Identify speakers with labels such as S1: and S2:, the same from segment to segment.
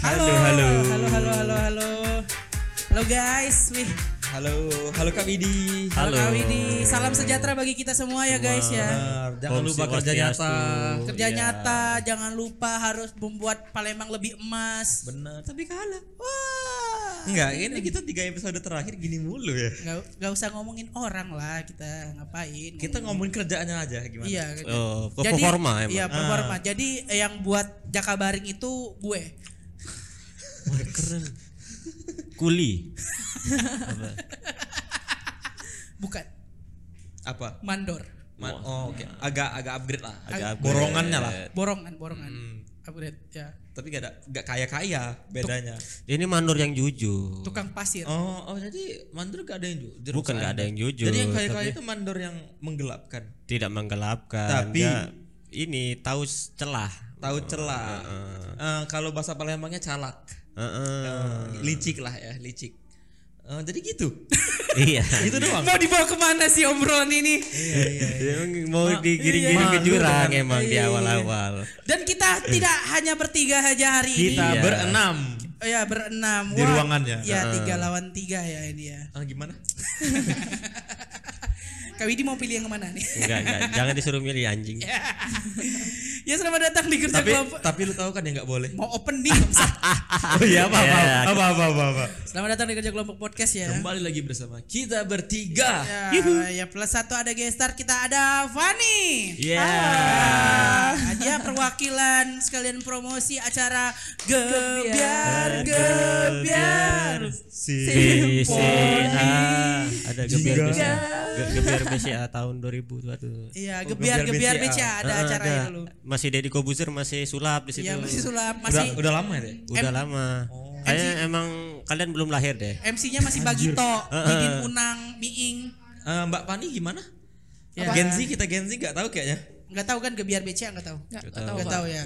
S1: Halo,
S2: halo.
S1: halo, halo, halo, halo. Halo guys, wih.
S2: Halo, halo Kak Widi.
S1: Halo.
S3: Halo.
S1: Widi. Salam sejahtera bagi kita semua ya guys ya.
S2: Benar, Jangan
S3: Om
S2: lupa kerja
S3: Swastiastu.
S2: nyata.
S1: Kerja
S3: Iya.
S1: nyata, jangan lupa harus membuat Palembang lebih emas.
S2: Benar.
S1: Tapi kalah. Wah.
S2: Enggak, ini kita tiga episode terakhir gini mulu ya.
S1: Nggak, nggak usah ngomongin orang lah kita ngapain.
S2: Kita ngomongin kerjaannya aja gimana?
S1: Iya.
S3: Oh, ke performa emang.
S1: Iya,
S2: Ah.
S1: performa. Jadi eh, yang buat Jakabaring itu gue.
S3: Wah, keren. Kuli.
S1: Bukan
S2: Apa?
S1: mandor.
S2: Man- oh, oke. Agak agak upgrade lah.
S1: Agak
S2: upgrade. Borongannya lah.
S1: Borongan, borongan.
S2: Hmm.
S1: Upgrade ya.
S2: Tapi gak ada gak kaya-kaya bedanya.
S3: Ini mandor yang jujur.
S1: Tukang pasir.
S2: Oh, oh jadi mandor gak ada yang jujur.
S3: Bukan nggak ada yang jujur.
S2: Jadi yang kaya-kaya
S3: tapi
S2: itu mandor yang menggelapkan.
S3: tidak menggelapkan.
S2: Tapi-
S3: Dia ini tahu s- celah.
S2: Tahu celah. Eh, kalau bahasa Palembangnya calak.
S3: Heeh.
S2: Eh, licik lah ya, licik. Eh, jadi gitu.
S3: iya.
S2: gitu doang.
S1: Mau dibawa kemana sih Om Ron ini?
S3: Emang mau digiring-giring
S2: iya.
S3: ke jurang
S2: Mandor.
S3: emang di awal-awal.
S1: Dan kita tidak hanya bertiga aja hari ini.
S3: Kita Iya.
S2: berenam.
S1: Oh ya berenam.
S2: Di ruangan ya?
S1: Iya tiga lawan tiga ya ini ya.
S2: Ah, gimana?
S1: Kak Widi mau pilih yang kemana nih?
S3: Enggak, enggak. Jangan disuruh milih anjing.
S1: ya selamat datang di kerja
S2: tapi
S1: kelompok.
S2: tapi lu tahu kan yang nggak boleh.
S1: Mau opening. Ustaz.
S2: oh iya apa apa,
S3: Ya.
S2: apa apa apa apa.
S1: selamat datang di kerja kelompok podcast ya.
S2: Nah, Kembali lagi bersama kita bertiga. Iya,
S1: Ya, ya plus satu ada gestar kita ada Fani.
S3: Iya.
S1: Ah, Dia perwakilan sekalian promosi acara Gebiar Gebiar.
S3: BCA ada
S2: Jingga.
S3: gebiar BCA Ge- gebiar BCA tahun 2000 tuh aduh.
S1: Iya, Gebiar
S2: Gebiar
S1: Gebiar BCA ada
S3: Ah,
S1: acaranya
S3: ada.
S1: dulu.
S3: masih Deddy Kobuzer masih sulap di situ
S1: Iya, masih sulap,
S2: Udah
S1: masih
S2: udah lama ya?
S3: udah lama kayaknya emang kalian belum lahir deh
S1: MC-nya masih Bagito, Didin Unang, Miing.
S2: Eh, Mbak Pani gimana?
S1: Ya.
S2: Gen Z kita Gen Z nggak tahu kayaknya.
S1: Nggak tahu kan Gebiar BCA nggak tahu.
S4: Nggak
S1: Nggak tahu, ya.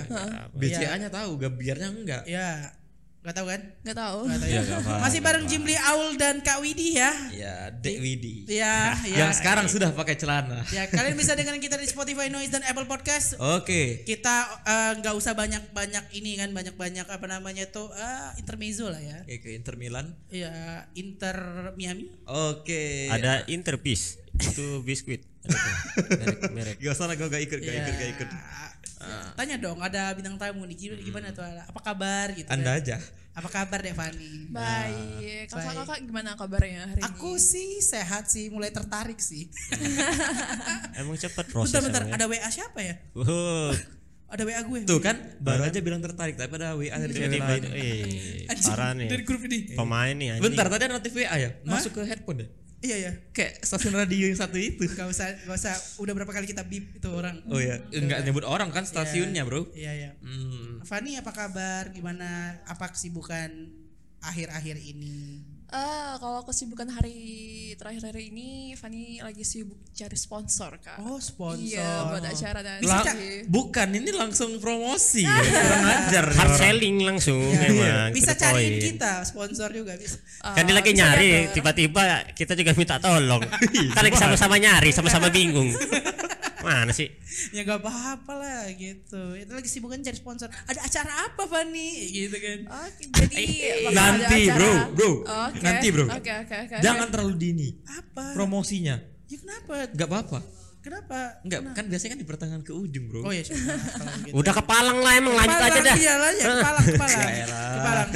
S2: BCA-nya tahu, Gebiarnya enggak.
S1: Iya. Nggak tahu kan?
S4: Nggak tahu.
S1: Nggak tahu
S3: Iya,
S1: ya.
S3: nggak apa-apa,
S1: Masih bareng Jimli Aul dan Kak Widi ya.
S2: Ya, Dek Widi.
S1: Iya, iya.
S2: Yang sekarang sudah pakai celana.
S1: Ya, kalian bisa dengerin kita di Spotify Noise dan Apple Podcast.
S2: Oke.
S1: Kita eh, nggak usah banyak-banyak ini kan, banyak-banyak apa namanya itu eh, intermezzo lah ya.
S2: Oke, ke Inter Milan.
S1: Ya, Inter Miami.
S2: Oke.
S3: ada
S1: Iya.
S3: interpiece itu biskuit merek merek
S2: Gak usah lah, gue gak ikut, gak ikut, gak ikut.
S1: Ya, Tanya dong, ada bintang tamu nih gimana, gimana tuh? Ala? Apa kabar gitu? kan?
S2: Anda aja.
S1: Apa kabar Devani?
S4: Nah, Baik. Kakak-kakak gimana kabarnya hari
S1: Aku
S4: ini?
S1: sih sehat sih, mulai tertarik sih.
S2: Hmm.
S3: emang cepat
S2: Oh,
S3: proses
S1: Bentar-bentar,
S3: emang ya.
S1: ada WA siapa ya?
S3: Wuh,
S1: Ada WA gue.
S2: Tuh kan, baru aja bilang tertarik, tapi ada WA dari cewek
S3: tiba-tiba
S2: lain.
S3: eh
S1: Anjing,
S3: parah nih
S1: Dari grup
S2: Oh.
S1: ini.
S3: pemain nih anjing
S2: Bentar, tadi ada notif WA ya? Masuk ke headphone deh.
S1: Iya ya.
S2: Kayak stasiun radio yang satu itu.
S1: Gak usah, gak usah. Udah berapa kali kita beep itu orang.
S2: Oh ya, enggak nyebut orang kan stasiunnya, Bro.
S1: Iya ya.
S2: Hmm.
S1: Fani apa kabar? Gimana? Apa kesibukan akhir-akhir ini?
S4: Ah, kalau kesibukan hari terakhir hari ini, Fani lagi sibuk cari sponsor kak.
S1: Oh sponsor.
S4: Iya, buat acara nanti.
S2: Lah, bukan ini langsung promosi. ya. Kurang ajar nih
S3: hard
S2: orang.
S3: selling langsung
S1: Iya.
S3: emang
S1: Bisa
S3: to the
S1: cariin
S3: point.
S1: kita sponsor juga bisa. Iya,
S4: Ah,
S3: Kan dia lagi
S4: bisa
S3: nyari,
S4: diatur.
S3: tiba-tiba kita juga minta tolong. Kita lagi sama-sama nyari, sama-sama bingung. Mana sih?
S1: Ya gak apa-apa lah gitu. Itu lagi sibuk kan cari sponsor. Ada acara apa Fani? Gitu kan.
S4: Oh, jadi bakal ada
S2: Iya. Nanti,
S4: acara.
S2: bro, bro.
S4: Oke.
S2: Nanti, bro.
S4: Oke, oke, oke.
S2: Jangan terlalu dini
S1: Apa?
S2: promosinya.
S1: Ya kenapa?
S2: Enggak apa-apa.
S1: Kenapa? Nah.
S2: Enggak, kan biasanya kan di pertengahan ke ujung, Bro.
S1: Oh ya sudah. kalau gitu.
S3: Udah kepalang lah emang lanjut
S1: Kepalang,
S3: aja dah.
S1: Iya lah ya, kepalang, kepalang.
S2: Ya elah.
S1: kepalang.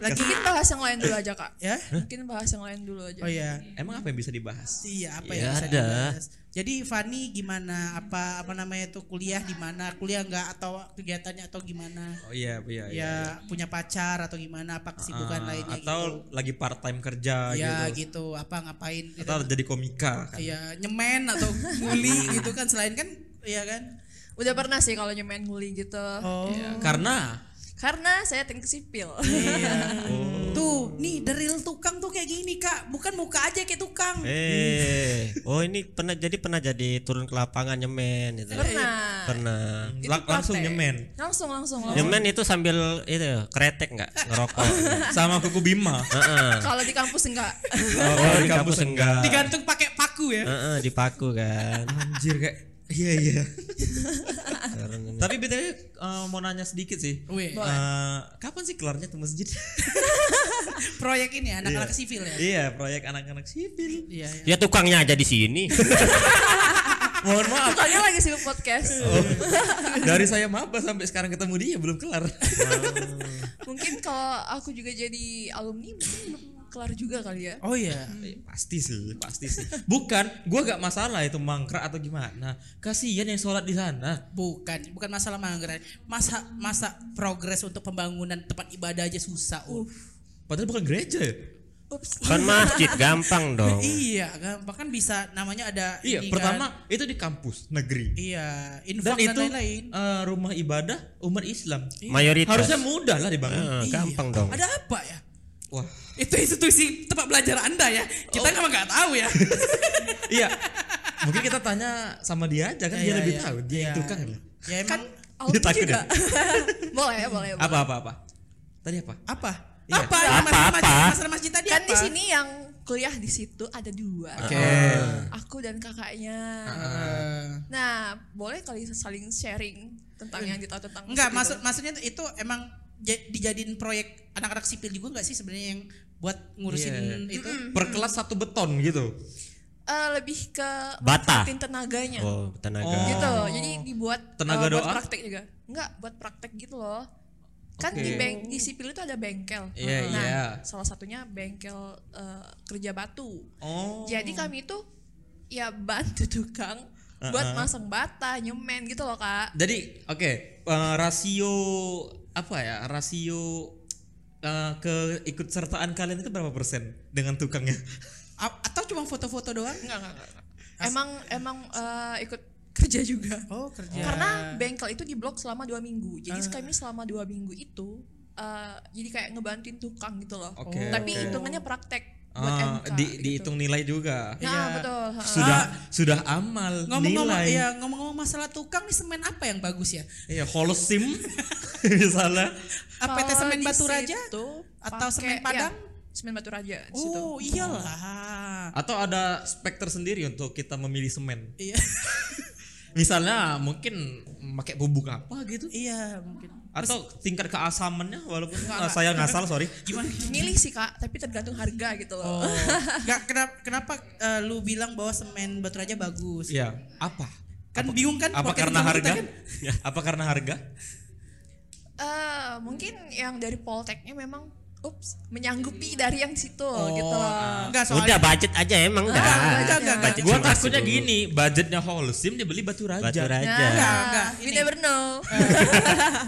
S1: Lagi
S4: Mungkin bahas yang lain dulu aja kak.
S1: ya?
S4: Mungkin bahas yang lain dulu aja.
S1: Oh
S2: iya.
S1: ya.
S2: Emang apa yang bisa dibahas?
S1: Iya, apa
S3: Ya
S1: ya, bisa
S3: ada.
S1: dibahas? Jadi Fani gimana? Apa apa namanya itu kuliah di mana? Kuliah enggak atau kegiatannya atau gimana?
S2: Oh iya, iya,
S1: Ya,
S2: iya.
S1: punya pacar atau gimana? Apa
S2: Ah,
S1: kesibukan lainnya
S2: atau lagi part time kerja
S1: gitu? Ya
S2: gitu.
S1: gitu, apa ngapain gitu.
S2: Atau jadi komika kan.
S1: Iya, nyemen atau nguli gitu kan selain kan iya kan?
S4: Udah pernah sih kalau nyemen nguli gitu.
S1: Oh.
S2: Iya. Karena
S4: Karena saya teknik sipil.
S1: Iya. Tuh, nih deril tukang tuh kayak gini, Kak. Bukan muka aja kayak tukang.
S2: Iya.
S3: Eh, oh ini pernah jadi pernah jadi turun ke lapangan nyemen itu.
S4: Pernah.
S3: Pernah.
S4: Itu
S2: la- langsung
S4: praktek.
S2: nyemen
S4: Langsung langsung. langsung.
S3: Nyemen itu sambil itu kretek nggak ngerokok.
S2: Oh. sama kuku Bima.
S3: Heeh.
S4: Kalau di kampus enggak.
S2: oh, di kampus enggak.
S1: Digantung pakai paku ya.
S3: Heeh, dipaku kan.
S2: Anjir kayak iya iya.
S3: Sekarang ini.
S2: Tapi btw eh, mau nanya sedikit sih.
S1: Weh.
S4: Boleh.
S2: Eh, kapan sih kelarnya tuh masjid?
S1: Proyek ini ya, anak-anak sipil ya.
S2: iya, proyek anak-anak sipil.
S1: Iya. iya.
S3: Ya tukangnya aja di sini.
S2: Mohon maaf.
S4: Bukannya lagi sibuk podcast.
S2: Dari saya maba sampai sekarang ketemu dia belum kelar.
S4: Mungkin kalau aku juga jadi alumni mungkin belum kelar juga kali ya.
S1: Oh iya.
S2: Eh, pasti sih, pasti sih. Bukan, gua gak masalah itu mangkrak atau gimana. Kasihan yang sholat di sana.
S1: Bukan, bukan masalah manggarai. Masa masa progres untuk pembangunan tempat ibadah aja susah. Ul.
S2: Padahal bukan gereja ya.
S4: Ups.
S3: Kan masjid gampang dong.
S1: Iya, kan bahkan bisa namanya ada
S2: Oh. Iya,
S1: ini
S2: pertama
S1: kan.
S2: itu di kampus negeri.
S1: Iya, infak
S2: Dan
S1: dan,
S2: itu
S1: lain-lain.
S2: eh, rumah ibadah umat Islam.
S3: Mayoritas.
S2: Harusnya mudah lah dibangun.
S3: Eh,
S1: Iya.
S3: gampang
S2: Oh.
S3: dong.
S1: Ada apa ya?
S2: Wah.
S1: Itu institusi tempat belajar Anda ya. Kita
S2: Oh.
S1: memang nggak tahu ya.
S2: iya. Mungkin kita tanya sama dia aja kan
S1: Ya,
S2: dia
S1: ya,
S2: lebih
S1: ya.
S2: tahu. Dia
S1: Ya.
S2: yang tukang lah.
S1: ya emang
S4: Kan alumni
S2: takut
S4: juga.
S2: ya?
S4: boleh, boleh, boleh.
S2: Apa apa apa? Tadi apa?
S1: apa?
S2: Iya.
S1: Apa?
S3: Apa,
S1: yang masalah-
S3: apa?
S1: masalah- Masalah masjid tadi
S4: Kan
S1: apa?
S4: di sini yang kuliah di situ ada dua.
S2: Oke.
S4: Eh. Aku dan kakaknya.
S1: Eh,
S4: Nah, boleh kali saling sharing tentang yang ditahu tentang
S1: Iya. Enggak,
S4: situ.
S1: maksud maksudnya tuh itu emang ja- dijadiin proyek anak-anak sipil juga enggak sih sebenarnya yang buat ngurusin
S2: Iya.
S1: itu?
S2: Per kelas satu beton gitu.
S4: Eh, lebih ke
S3: Bata.
S4: manfaatin tenaganya.
S3: Oh, tenaga.
S2: Oh.
S4: Gitu. Jadi dibuat
S2: Tenaga
S4: eh, buat
S2: doa?
S4: praktek juga. Enggak, buat praktek gitu loh. Kan
S2: Oke.
S4: di bank di sipil itu ada bengkel.
S2: Iya,
S4: nah,
S2: iya.
S4: salah satunya bengkel eh, kerja batu.
S2: Oh.
S4: Jadi kami itu ya bantu tukang buat masang bata, nyemen gitu loh, Kak.
S2: Jadi oke, eh, rasio apa ya? Rasio eh, keikutsertaan kalian itu berapa persen dengan tukangnya?
S1: A- atau cuma foto-foto doang?
S4: Enggak, enggak, enggak. Emang emang eh, ikut kerja juga.
S1: Oh,
S2: Ya.
S1: kerja.
S4: Karena bengkel itu diblok selama dua minggu. Jadi kami selama dua minggu itu eh, jadi kayak ngebantuin tukang gitu loh.
S2: Oke,
S4: Tapi
S2: oke.
S4: hitungannya praktek buat
S2: Ah,
S4: MK.
S2: di,
S4: gitu.
S2: dihitung nilai juga.
S4: Nah,
S1: Iya.
S4: betul. ha.
S2: Sudah sudah amal
S1: ngomong-ngomong
S2: nilai.
S1: ya ngomong-ngomong masalah tukang nih semen apa yang bagus ya?
S2: Iya, holosim misalnya.
S1: Apa itu
S4: Kalau
S1: semen
S4: di
S1: Batu Raja?
S4: situ
S1: Atau
S4: pakai-
S1: semen Padang?
S4: ya, semen Batu Raja di situ.
S1: Oh, iyalah.
S2: Atau ada spek tersendiri untuk kita memilih semen.
S1: Iya.
S2: Misalnya mungkin pakai bubuk apa gitu
S1: Iya, mungkin.
S2: atau tingkat keasamannya walaupun ah, saya ngasal sorry.
S1: Gimana?
S4: Milih sih Kak, tapi tergantung harga gitu
S1: Oh.
S4: loh.
S1: Nggak, kenapa kenapa eh, lu bilang bahwa semen Batu Raja bagus?
S2: Iya, apa?
S1: Kan bingung kan
S2: Apa
S1: podcast
S2: karena
S1: utama kita
S2: harga? Iya,
S1: kan?
S2: Apa karena harga?
S4: Eh, mungkin yang dari Polteknya memang ups, menyanggupi dari yang situ
S1: Oh,
S4: gitu loh.
S1: Enggak soalnya
S3: Udah budget aja emang
S2: Ah,
S3: udah.
S1: Enggak, enggak, enggak, enggak.
S2: Gua
S3: Budget
S2: takutnya
S3: dulu.
S2: gini, budgetnya Holsim dia beli batu raja.
S3: Batu
S4: Nah,
S3: raja.
S1: Enggak, enggak.
S4: We
S1: Ini- Eh.
S4: never know.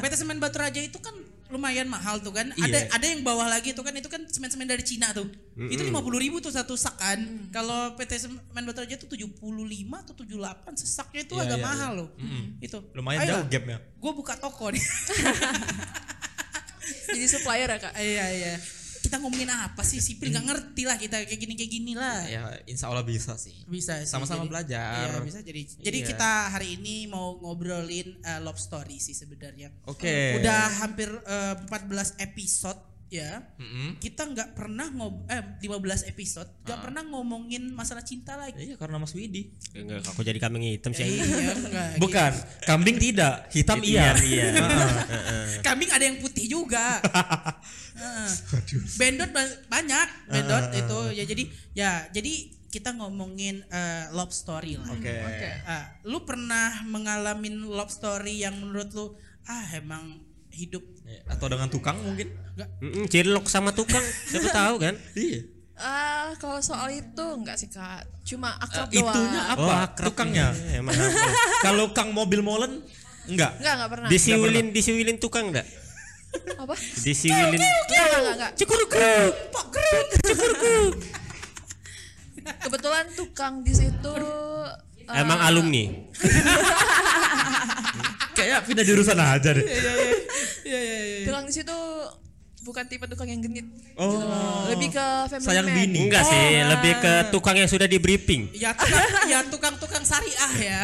S1: PT Semen Batu Raja itu kan lumayan mahal tuh kan.
S2: Iya.
S1: Ada ada yang bawah lagi tuh kan itu kan semen-semen dari Cina tuh. Itu lima puluh ribu tuh satu sak kan. Kalau PT Semen Batu Raja itu 75 atau 78 sesaknya itu
S2: Iya,
S1: agak
S2: iya,
S1: mahal loh. Itu.
S2: Lumayan jauh gapnya.
S1: Gue buka toko nih.
S4: Jadi supplier ya Kak.
S1: iya iya. Kita ngomongin apa sih? Sipil nggak ngerti lah kita kayak gini kayak gini lah.
S2: Ya, insya Allah bisa sih.
S1: Bisa sih,
S2: Sama-sama
S1: jadi-
S2: belajar.
S1: Iya, bisa jadi. Jadi
S2: Iya.
S1: kita hari ini mau ngobrolin eh, love story sih sebenarnya.
S2: Oke.
S1: Udah hampir eh, 14 episode ya.
S2: Mm-mm. Ah.
S1: Kita nggak pernah ngob eh 15 episode nggak pernah ngomongin masalah cinta lagi.
S2: Iya, karena Mas Widi.
S3: Enggak, aku jadi kambing hitam sih.
S1: Iya, enggak.
S2: Bukan, kambing tidak, hitam gitu. iya.
S3: iya.
S1: Kambing ada yang putih juga. Heeh. Bendot ba- banyak, bendot
S2: Ah.
S1: itu ya jadi ya jadi kita ngomongin eh, love story lah.
S2: Oke.
S4: Oke.
S1: Ah, lu pernah mengalami love story yang menurut lu ah emang hidup
S2: Atau dengan tukang mungkin?
S3: Mm-mm, Cilok sama tukang, siapa tahu kan?
S2: Iya.
S4: Ah, kalau soal itu enggak sih Kak. Cuma akrab
S2: Eh, itunya
S4: doang.
S2: Apa? Tukangnya?
S3: Oh,
S2: Nah,
S3: Iya, Emang akrab.
S2: Kalau Kang mobil molen enggak?
S4: Enggak, enggak pernah.
S3: disiwilin, disiwilin tukang enggak?
S4: Apa?
S3: Disiwilin.
S4: Enggak,
S2: Gitu.
S4: enggak, enggak.
S3: Cukur keruk, pak keruk, cukur keruk.
S4: Kebetulan tukang di situ eh,
S3: Ah. Emang alumni.
S2: Kayaknya pindah jurusan aja deh.
S4: Tukang di situ bukan tipe tukang yang genit. gitu
S2: Oh.
S4: Lebih ke family
S2: Sayang
S4: man.
S2: bini.
S3: Enggak sih, lebih ke tukang yang sudah di briefing.
S1: ya tukang ya tukang-tukang syariah ya.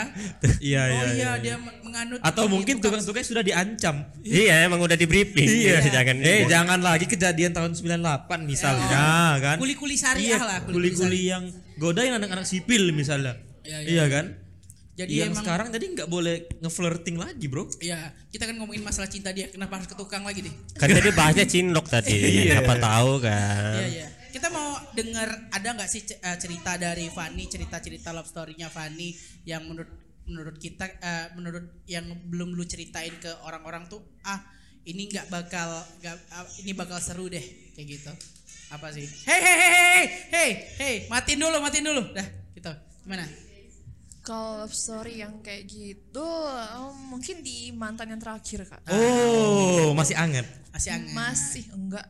S2: Iya,
S1: Oh
S2: iya.
S1: iya dia meng- menganut
S2: Atau
S1: ini
S2: mungkin tukang-tukang sudah diancam.
S3: Iya, emang udah di briefing. Jadi Iya. jangan.
S2: Eh, jangan lagi kejadian tahun 98 misalnya kan.
S1: kuli-kuli syariah lah
S2: kuli-kuli yang godain anak-anak sipil misalnya.
S1: Iya,
S2: Iya,
S1: iya.
S2: kan?
S1: syariah. Jadi
S2: yang
S1: emang
S2: sekarang jadi nggak boleh ngeflirting lagi bro
S1: ya kita kan ngomongin masalah cinta dia kenapa harus ke tukang lagi deh.
S3: Kan tadi bahasnya cinlok tadi. Siapa tahu kan.
S1: Iya iya. Kita mau dengar ada nggak sih ce- eh, cerita dari Fanny, cerita-cerita love story-nya Fanny yang menurut menurut kita eh, menurut yang belum lu ceritain ke orang-orang tuh ah ini nggak bakal nggak- ah, ini bakal seru deh kayak gitu. Apa sih? Hei hei hei hei hei hei matiin dulu matiin dulu dah gitu. Gimana?
S4: Kalau love story yang kayak gitu em, mungkin di mantan yang terakhir kak.
S2: oh masih anget
S1: Masih anget.
S4: Masih enggak.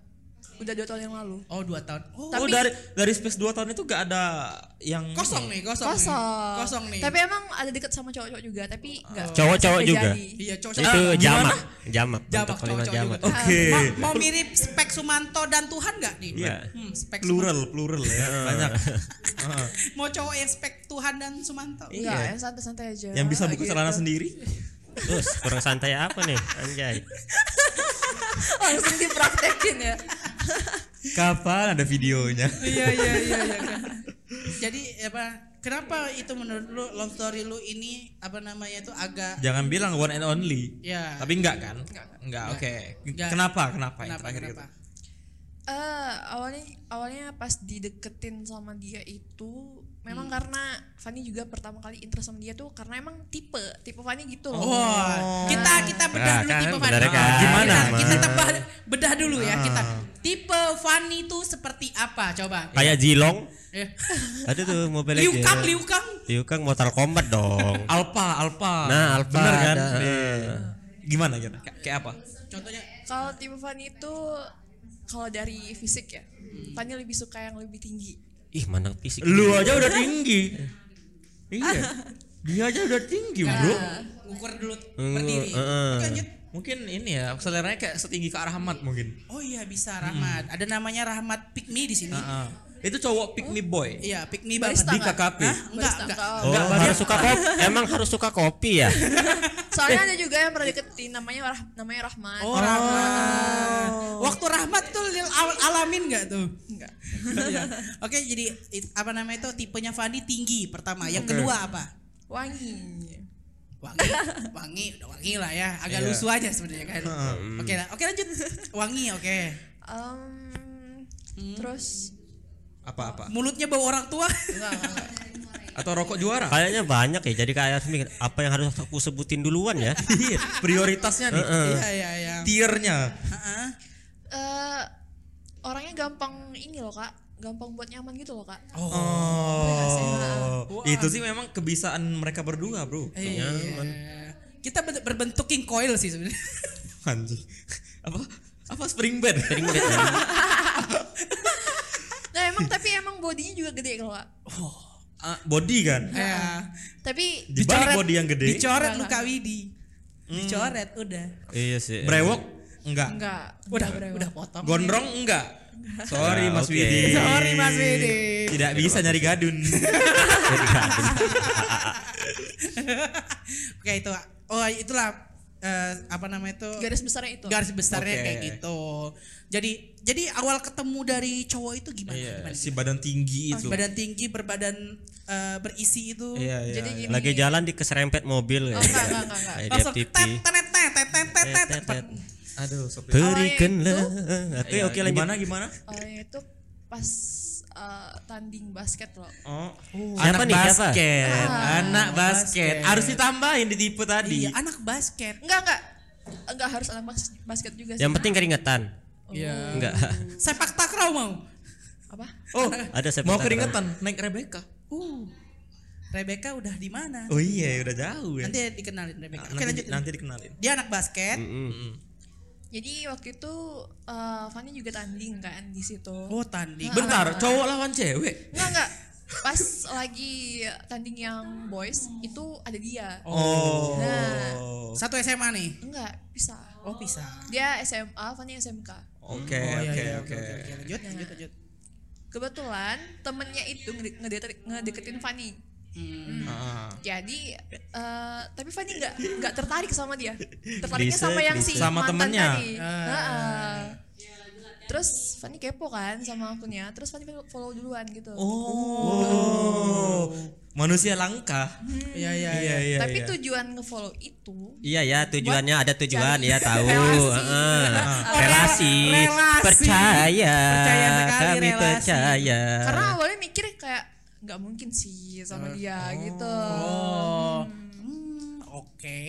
S4: Udah dua tahun yang lalu.
S1: Oh dua tahun.
S2: oh
S1: Oh
S4: Tapi-
S2: dari dari space 2 tahun itu gak ada yang
S1: kosong nih kosong.
S4: Kosong.
S1: Nih. Kosong nih.
S4: Tapi emang ada deket sama cowok-cowok juga, tapi
S2: Oh.
S4: enggak.
S3: Cowok-cowok
S4: sampai
S3: juga?
S4: jadi.
S1: iya cocok.
S3: Itu
S1: Ah,
S3: jamak, jamak.
S1: Jamak,
S3: bentuk kalimat
S1: cowok-cowok
S3: jamak.
S1: juga.
S2: oke
S1: Mau, mau mirip spek Sumanto dan Tuhan nggak nih?
S3: Iya.
S1: Hmm, spek
S2: plural plural ya banyak Heeh.
S1: Sumanto. Mau cowok yang spek Tuhan dan Sumanto.
S4: Enggak,
S2: Iya.
S4: yang santai-santai aja.
S2: yang bisa buka
S4: Gitu.
S2: celana sendiri
S3: Terus kurang santai apa nih anjay.
S4: Langsung dipraktekin ya.
S2: kapan ada videonya
S1: Iya iya iya iya. Jadi apa? Kenapa itu menurut lu love story lu ini apa namanya itu agak
S2: jangan bilang one and only
S1: ya
S2: tapi enggak kan
S4: Enggak.
S2: enggak oke
S1: Enggak.
S2: kenapa kenapa yang
S1: kenapa
S2: terakhir
S1: kenapa?
S2: gitu
S4: Eh, awalnya awalnya pas dideketin sama dia itu memang
S1: Hmm.
S4: karena Fanny juga pertama kali interest sama dia tuh karena emang tipe tipe Fanny gitu loh.
S1: Oh, kita kita bedah
S3: Nah,
S1: dulu
S3: kan
S1: tipe
S3: benar
S1: Fanny.
S3: kan?
S1: Gimana?
S2: Gimana,
S1: Kita, kita tebah bedah dulu ya kita. Tipe Fanny itu seperti apa? Coba.
S3: Kayak Jilong.
S1: Eh,
S3: Ada tuh Mobile Legends.
S1: Liukang, liukang.
S3: Liukang Mortal Kombat dong.
S2: alpha alpha
S3: Nah, alpha
S2: bener kan
S3: ada,
S2: Iya.
S3: eh.
S2: gimana gitu kayak apa
S1: Contohnya
S4: Kalau tipe Fanny itu kalau dari fisik ya,
S1: Hmm.
S4: Fanny lebih suka yang lebih tinggi.
S3: Ih, mandang fisik.
S2: lu aja udah tinggi iya dia aja udah tinggi bro
S1: Nah, ukur dulu
S3: Ngu-
S1: berdiri.
S3: heeh.
S1: Oke, lanjut.
S2: mungkin ini ya seleranya kayak setinggi ke arah Ahmad mungkin
S1: Oh iya bisa Rahmat. Ada namanya Rahmat Pikmi di sini.
S2: Heeh. itu cowok pick me boy
S1: Iya, Pikmi banget.
S4: Barista
S2: di
S4: nggak?
S2: KKP
S1: Hah? Enggak, Ah,
S4: Barista
S1: enggak.
S4: nggak?
S3: Oh,
S2: Enggak, Bang,
S3: harus
S2: ya.
S3: suka kopi. Emang harus suka kopi ya?
S4: Soalnya ada juga yang pernah deketin namanya Rah- namanya Rahmat.
S1: Oh, Rahmat. Waktu Rahmat tuh lil al- alamin enggak tuh?
S4: Enggak.
S1: Iya. Oke, jadi it- apa namanya itu tipenya Fandi tinggi pertama. Yang kedua apa?
S4: Wangi.
S1: Wangi, wangi, udah wangi lah ya. Agak
S2: Iya.
S1: lusuh aja sebenarnya kan. Oke, lah. oke lanjut. Wangi, oke.
S4: Em,
S1: Hmm.
S4: Terus
S2: apa apa
S1: Mulutnya bau orang tua.
S4: enggak, enggak, enggak.
S2: atau rokok juara
S3: Kayaknya banyak ya. Jadi kayak harus mikir apa yang harus aku sebutin duluan ya?
S2: Iya, prioritasnya nih
S1: Iya, iya, iya.
S2: tiernya
S1: Heeh.
S4: Eh, orangnya gampang ini loh kak, gampang buat nyaman gitu loh kak.
S2: Oh, itu sih memang kebiasaan mereka berdua, bro.
S1: Iya. Kita ber- berbentuk king coil sih sebenarnya.
S2: Anjing. Apa? Apa spring bed?
S3: kan.
S4: Nah emang tapi emang bodinya juga gede loh kak.
S2: Ah, body kan?
S1: Iya.
S4: Tapi
S2: Dibalik body yang gede. Hmm.
S1: Dicoret Luka Widi. Dicoret udah.
S3: iya sih.
S2: Brewok enggak.
S4: enggak.
S1: Udah
S4: enggak,
S1: udah potong.
S2: Gondrong enggak. Sorry
S3: Ah,
S2: Mas
S3: oke.
S2: Widi.
S1: Sorry Mas Widi.
S2: Tidak bisa nyari gadun.
S1: Oke itu. Oh itulah eh, apa namanya itu
S4: Garis besarnya itu.
S1: garis besarnya
S2: Oke.
S1: kayak gitu. Jadi jadi awal ketemu dari cowok itu gimana?
S2: Iya,
S1: gimana? Oh,
S2: si badan tinggi itu.
S1: Badan tinggi berbadan eh, berisi itu.
S2: Iya, iya.
S4: Jadi gini.
S3: Lagi jalan di keserempet mobil ya.
S4: Oh, enggak, enggak, enggak, enggak.
S3: Kayak dia
S1: Langsung tet
S3: pipi.
S1: tenet tet tet tet tet,
S3: Tet,
S1: tet.
S3: tet, tet.
S2: Aduh, sopi.
S3: Berikanlah. Oke,
S2: Iya,
S3: oke lanjut.
S2: Gimana gimana?
S4: Orangnya itu pas eh, tanding basket loh.
S2: Oh,
S3: Siapa
S2: anak
S3: nih, siapa?
S2: basket, anak basket. Harus ditambahin di tipe tadi.
S1: Ah, Iya, anak basket.
S4: Enggak enggak. Enggak harus anak bas- basket juga sih.
S3: Yang penting keringetan.
S1: Iya.
S3: Enggak.
S1: Sepak takraw mau.
S4: Apa?
S2: Oh,
S3: Ada sepak
S2: mau
S3: takraw.
S2: keringetan naik Rebecca.
S1: Uh. Rebecca udah di mana?
S2: Oh iya, udah jauh ya.
S1: Nanti dikenalin Rebecca. Oke
S2: nanti,
S1: lanjut.
S2: nanti dikenalin.
S1: Dia anak basket.
S4: Jadi waktu itu eh, Fanny juga tanding kan di situ.
S1: Oh tanding.
S2: Bentar, cowok lawan cewek.
S4: Enggak enggak. Pas lagi tanding yang boys itu ada dia.
S2: Oh.
S4: Nah,
S1: Satu SMA nih.
S4: enggak bisa.
S1: Oh bisa.
S4: Dia SMA, Fanny SMK.
S2: Oke,
S1: Oh, iya,
S2: oke,
S1: iya,
S2: oke.
S1: oke. Lanjut, lanjut, lanjut.
S4: Kebetulan temennya itu ngede- ngede- ngedeketin Fanny.
S2: Ah.
S4: Jadi eh, tapi Fanny nggak nggak tertarik sama dia. Tertariknya
S3: Bisa,
S4: sama yang si
S2: bisa. Sama
S4: mantan
S2: temennya.
S4: tadi. Heeh. Terus Fanny kepo kan sama akunnya. Terus Fanny follow duluan gitu.
S2: Oh. Manusia langka.
S1: Iya iya
S2: Iya
S1: iya.
S2: iya.
S4: Tapi
S2: iya.
S4: tujuan nge-follow itu
S3: Iya ya tujuannya ada tujuan
S4: cari
S3: ya tahu
S4: relasi.
S3: Heeh.
S4: Relasi.
S3: relasi.
S1: Relasi.
S3: percaya
S1: Percaya sekali,
S3: kami
S1: relasi.
S3: percaya
S4: karena awalnya mikir kayak nggak mungkin sih sama dia gitu
S1: Oh. Hmm, Oke.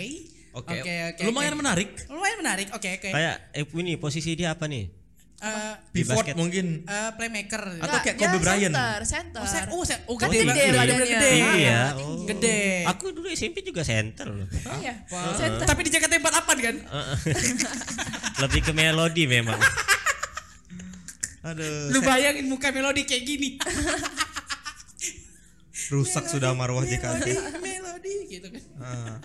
S3: Oke.
S1: Oke oke.
S2: Lumayan
S1: oke.
S2: menarik.
S1: Lumayan menarik. Oke oke.
S3: kayak eh, ini posisi dia apa nih
S1: Eh,
S3: Di
S2: Pivot
S3: basket.
S2: mungkin.
S1: eh, playmaker.
S2: Atau
S4: Nggak,
S2: kayak
S4: dia
S2: Kobe Bryant.
S4: center center
S1: Oh, saya, oh, saya, oh,
S4: kan
S1: gede,
S4: gede
S1: Bang.
S4: badannya
S1: gede.
S3: Iya,
S4: tinggi.
S1: Gede.
S2: Oh.
S3: aku dulu SMP juga center loh
S4: Iya,
S1: Wah.
S4: center
S1: Tapi di Jakarta 48 kan?
S2: Oh,
S3: lebih ke melodi memang
S2: Aduh,
S1: Lu bayangin muka melodi kayak gini.
S2: rusak sudah marwah JKT.
S1: melodi gitu kan.
S2: Ah.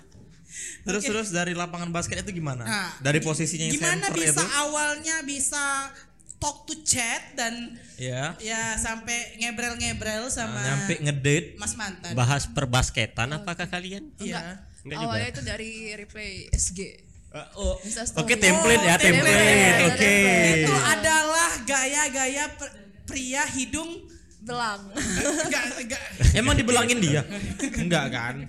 S2: Terus terus dari lapangan basket itu gimana?
S1: Nah,
S2: dari posisinya yang
S1: Gimana
S2: center
S1: bisa
S2: itu?
S1: awalnya bisa talk to chat dan
S2: Ya.
S1: ya sampai ngebrel-ngebrel
S2: Ah,
S1: sama
S2: Nyampe ngedate.
S1: Mas mantan.
S3: bahas perbasketan apakah kalian
S1: Iya.
S3: Enggak juga.
S4: awalnya itu dari replay SG
S2: oh.
S4: Insta story.
S3: Oke template ya
S1: Oh,
S3: template,
S1: template.
S3: oke
S1: Itu adalah gaya-gaya per- pria hidung
S4: belang
S1: enggak enggak.
S2: Emang dibelangin dia? Enggak kan?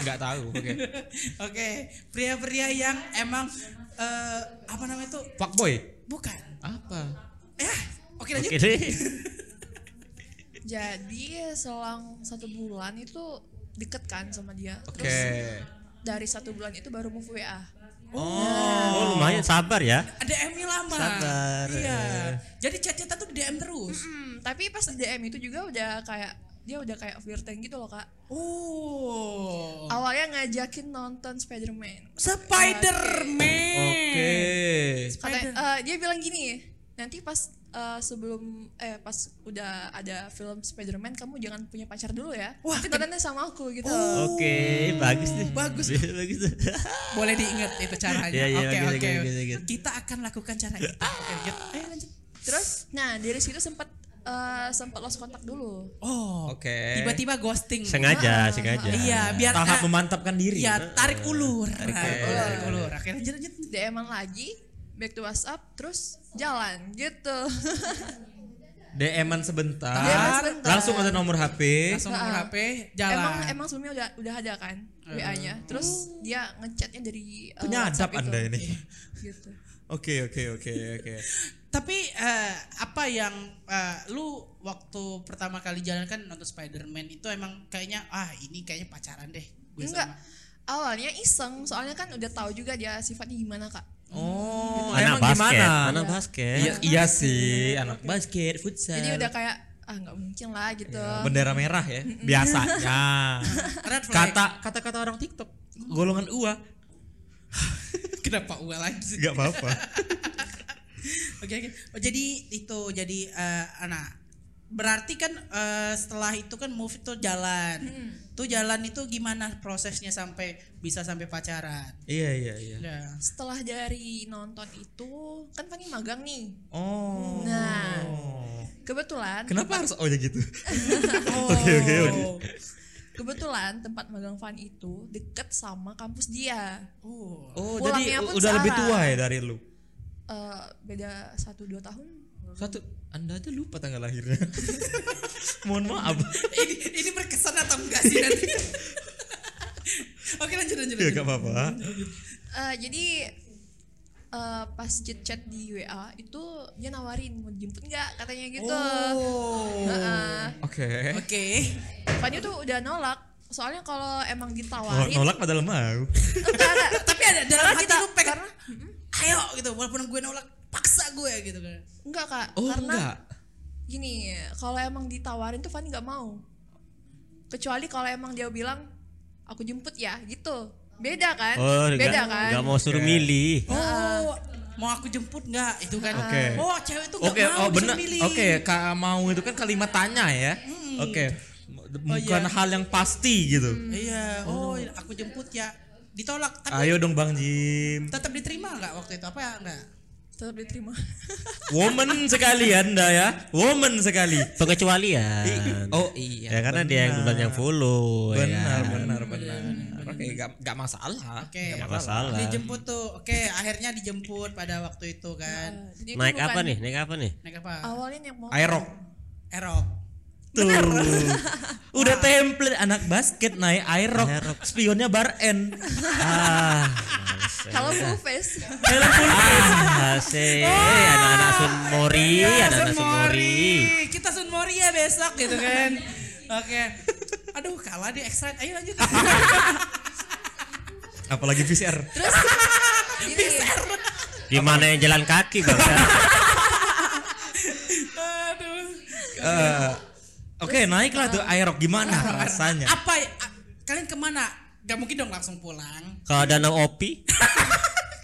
S2: Enggak tahu. Oke.
S1: Oke, pria-pria yang emang eh, apa namanya tuh?
S2: Fuckboy.
S1: Bukan.
S2: Apa?
S1: Ya, oke lanjut.
S3: oke deh
S4: jadi selang satu bulan itu deket kan sama dia
S2: Oke.
S4: terus
S2: eh.
S4: dari satu bulan itu baru move WA
S3: oh lumayan sabar ya
S1: DM-nya lama.
S3: Sabar,
S1: Iya.
S3: eh.
S1: Jadi chat-chatan tuh di DM terus.
S4: Hmm, tapi pas di DM itu juga udah kayak dia udah kayak flirting gitu loh kak
S1: Oh.
S4: awalnya ngajakin nonton Spiderman
S1: Spider-Man.
S2: Oke.
S4: Katanya,
S1: Spider-
S4: eh, dia bilang gini nanti pas eh, sebelum eh pas udah ada film Spider-Man kamu jangan punya pacar dulu ya
S1: Wah,
S4: nanti
S1: ken-
S4: badannya sama aku gitu
S3: oke bagus nih
S1: Bagus.
S3: bagus tuh.
S1: Boleh diingat itu caranya.
S3: Iya, iya,
S1: Oke,
S3: gitu,
S1: oke.
S3: gitu, gitu, gitu.
S1: Kita akan lakukan cara itu. Oke, lanjut. Ayo lanjut.
S4: terus nah dari situ sempat eh, sempat lost kontak dulu
S1: Oh.
S2: Oke.
S1: Tiba-tiba ghosting.
S3: sengaja sengaja
S1: Iya, biar
S2: Tahap
S1: eh,
S2: memantapkan diri.
S1: Iya, tarik ulur. Tarik
S2: ulur.
S1: tarik ulur. Oke, lanjut lanjut.
S4: DM-an lagi back to WhatsApp terus jalan gitu
S2: DM-an sebentar.
S4: DM-an sebentar.
S2: Langsung ada nomor HP.
S1: Langsung nomor
S4: Ah.
S1: HP, jalan.
S4: emang emang sebelumnya udah udah ada kan WA-nya terus dia ngechatnya dari eh,
S2: Penyadap
S4: WhatsApp itu.
S2: Anda ini.
S4: gitu
S2: Oke, oke, oke, oke.
S1: Tapi eh, apa yang eh, lu waktu pertama kali jalan kan nonton Spider-Man itu emang kayaknya ah ini kayaknya pacaran deh. Gue
S4: Ya enggak
S1: sama.
S4: awalnya iseng soalnya kan udah tahu juga dia sifatnya gimana kak
S2: Oh, emang
S3: anak basket
S2: gimana?
S3: anak basket
S2: Iya, iya sih, anak basket, futsal.
S4: jadi udah kayak ah nggak mungkin lah gitu
S2: bendera merah ya biasanya
S1: Red flag.
S2: kata kata kata orang TikTok golongan UA
S1: Kenapa gue lagi sih?
S2: nggak apa-apa
S1: Oke oke. Oh, jadi itu jadi eh anak. Berarti kan eh, setelah itu kan move itu jalan.
S4: Hmm.
S1: Tuh jalan itu gimana prosesnya sampai bisa sampai pacaran?
S2: iya iya iya
S1: Ya.
S4: setelah dari nonton itu kan Fanny magang nih
S2: oh
S4: Nah. kebetulan
S2: kenapa harus oh ya gitu
S1: Oh.
S2: Oke, oke, oke.
S4: kebetulan tempat magang Fanny itu deket sama kampus dia
S1: Oh.
S2: oh
S4: Pulangnya
S2: jadi
S4: pun
S2: udah lebih
S4: searah.
S2: tua ya dari lu
S4: Eh, beda satu dua tahun
S2: satu anda aja lupa tanggal lahirnya mohon maaf
S1: ini ini berkesan atau enggak sih nanti? Oke lanjut lanjut.
S2: ya
S1: lanjut.
S2: nggak apa-apa
S4: Eh, jadi eh, pas chat chat di WA itu dia nawarin mau jemput nggak katanya gitu
S1: Oh.
S4: Heeh.
S2: oke
S1: Oke.
S4: Fanny tuh udah nolak soalnya kalau emang
S2: Nol-
S4: ditawarin
S2: nolak padahal mau
S4: Enggak, enggak.
S1: Tapi ada dalam hati
S4: kita-
S1: lu pengen
S4: karena-
S1: ayo gitu walaupun gue nolak paksa gue gitu kan.
S4: enggak kak
S2: oh
S4: karena
S2: enggak
S4: gini kalau emang ditawarin tuh Fanny nggak mau kecuali kalau emang dia bilang aku jemput ya gitu beda kan
S3: oh enggak
S4: beda kan
S3: enggak mau suruh milih
S1: Oh, mau aku jemput nggak itu kan?
S2: Oke.
S1: Oh, cewek tuh nggak
S2: Oke,
S1: mau
S2: oh
S1: disuruh
S2: benar.
S1: milih.
S2: Oke, Kak mau itu kan kalimat tanya ya. Oke. Bukan
S1: iya.
S2: hal yang pasti gitu.
S1: Iya. Oh, aku jemput ya. Ditolak. Tapi
S2: Ah. Ayo dong Bang Jim.
S1: tetap diterima nggak waktu itu? Apa ya nggak?
S4: tetap diterima
S2: Woman sekali Anda ya. Woman sekali.
S3: Pengecualian.
S2: Oh iya.
S3: ya karena dia yang duluan yang follow. ya
S2: Benar,
S3: kan?
S2: benar, benar. Oke, gak, gak masalah.
S1: Oke.
S2: Nggak
S3: Nggak masalah.
S1: dijemput tuh oke akhirnya dijemput pada waktu itu kan
S4: Jadi itu
S3: Naik
S4: bukan-
S3: apa nih? Naik apa nih?
S4: Iya.
S1: naik apa
S4: awalnya naik motor
S2: Aerok.
S1: erok
S2: Tuh. Udah template anak basket naik aerok. Spionnya bar N.
S3: Ah,
S4: kalau full face
S3: Eh,
S2: Helm full face.
S3: ah, asik. Anak-anak Sunmori, anak-anak Sunmori.
S1: kita sunmori ya besok gitu kan oke aduh kalah di extra ayo lanjut
S2: Apalagi VCR.
S4: Gini,
S3: Di mana yang jalan kaki, Bang?
S1: aduh
S2: Eh, Oke, naiklah tuh aerok gimana rasanya?
S1: apa ya- a- kalian kemana Gak mungkin dong langsung pulang
S3: Kalau danau opi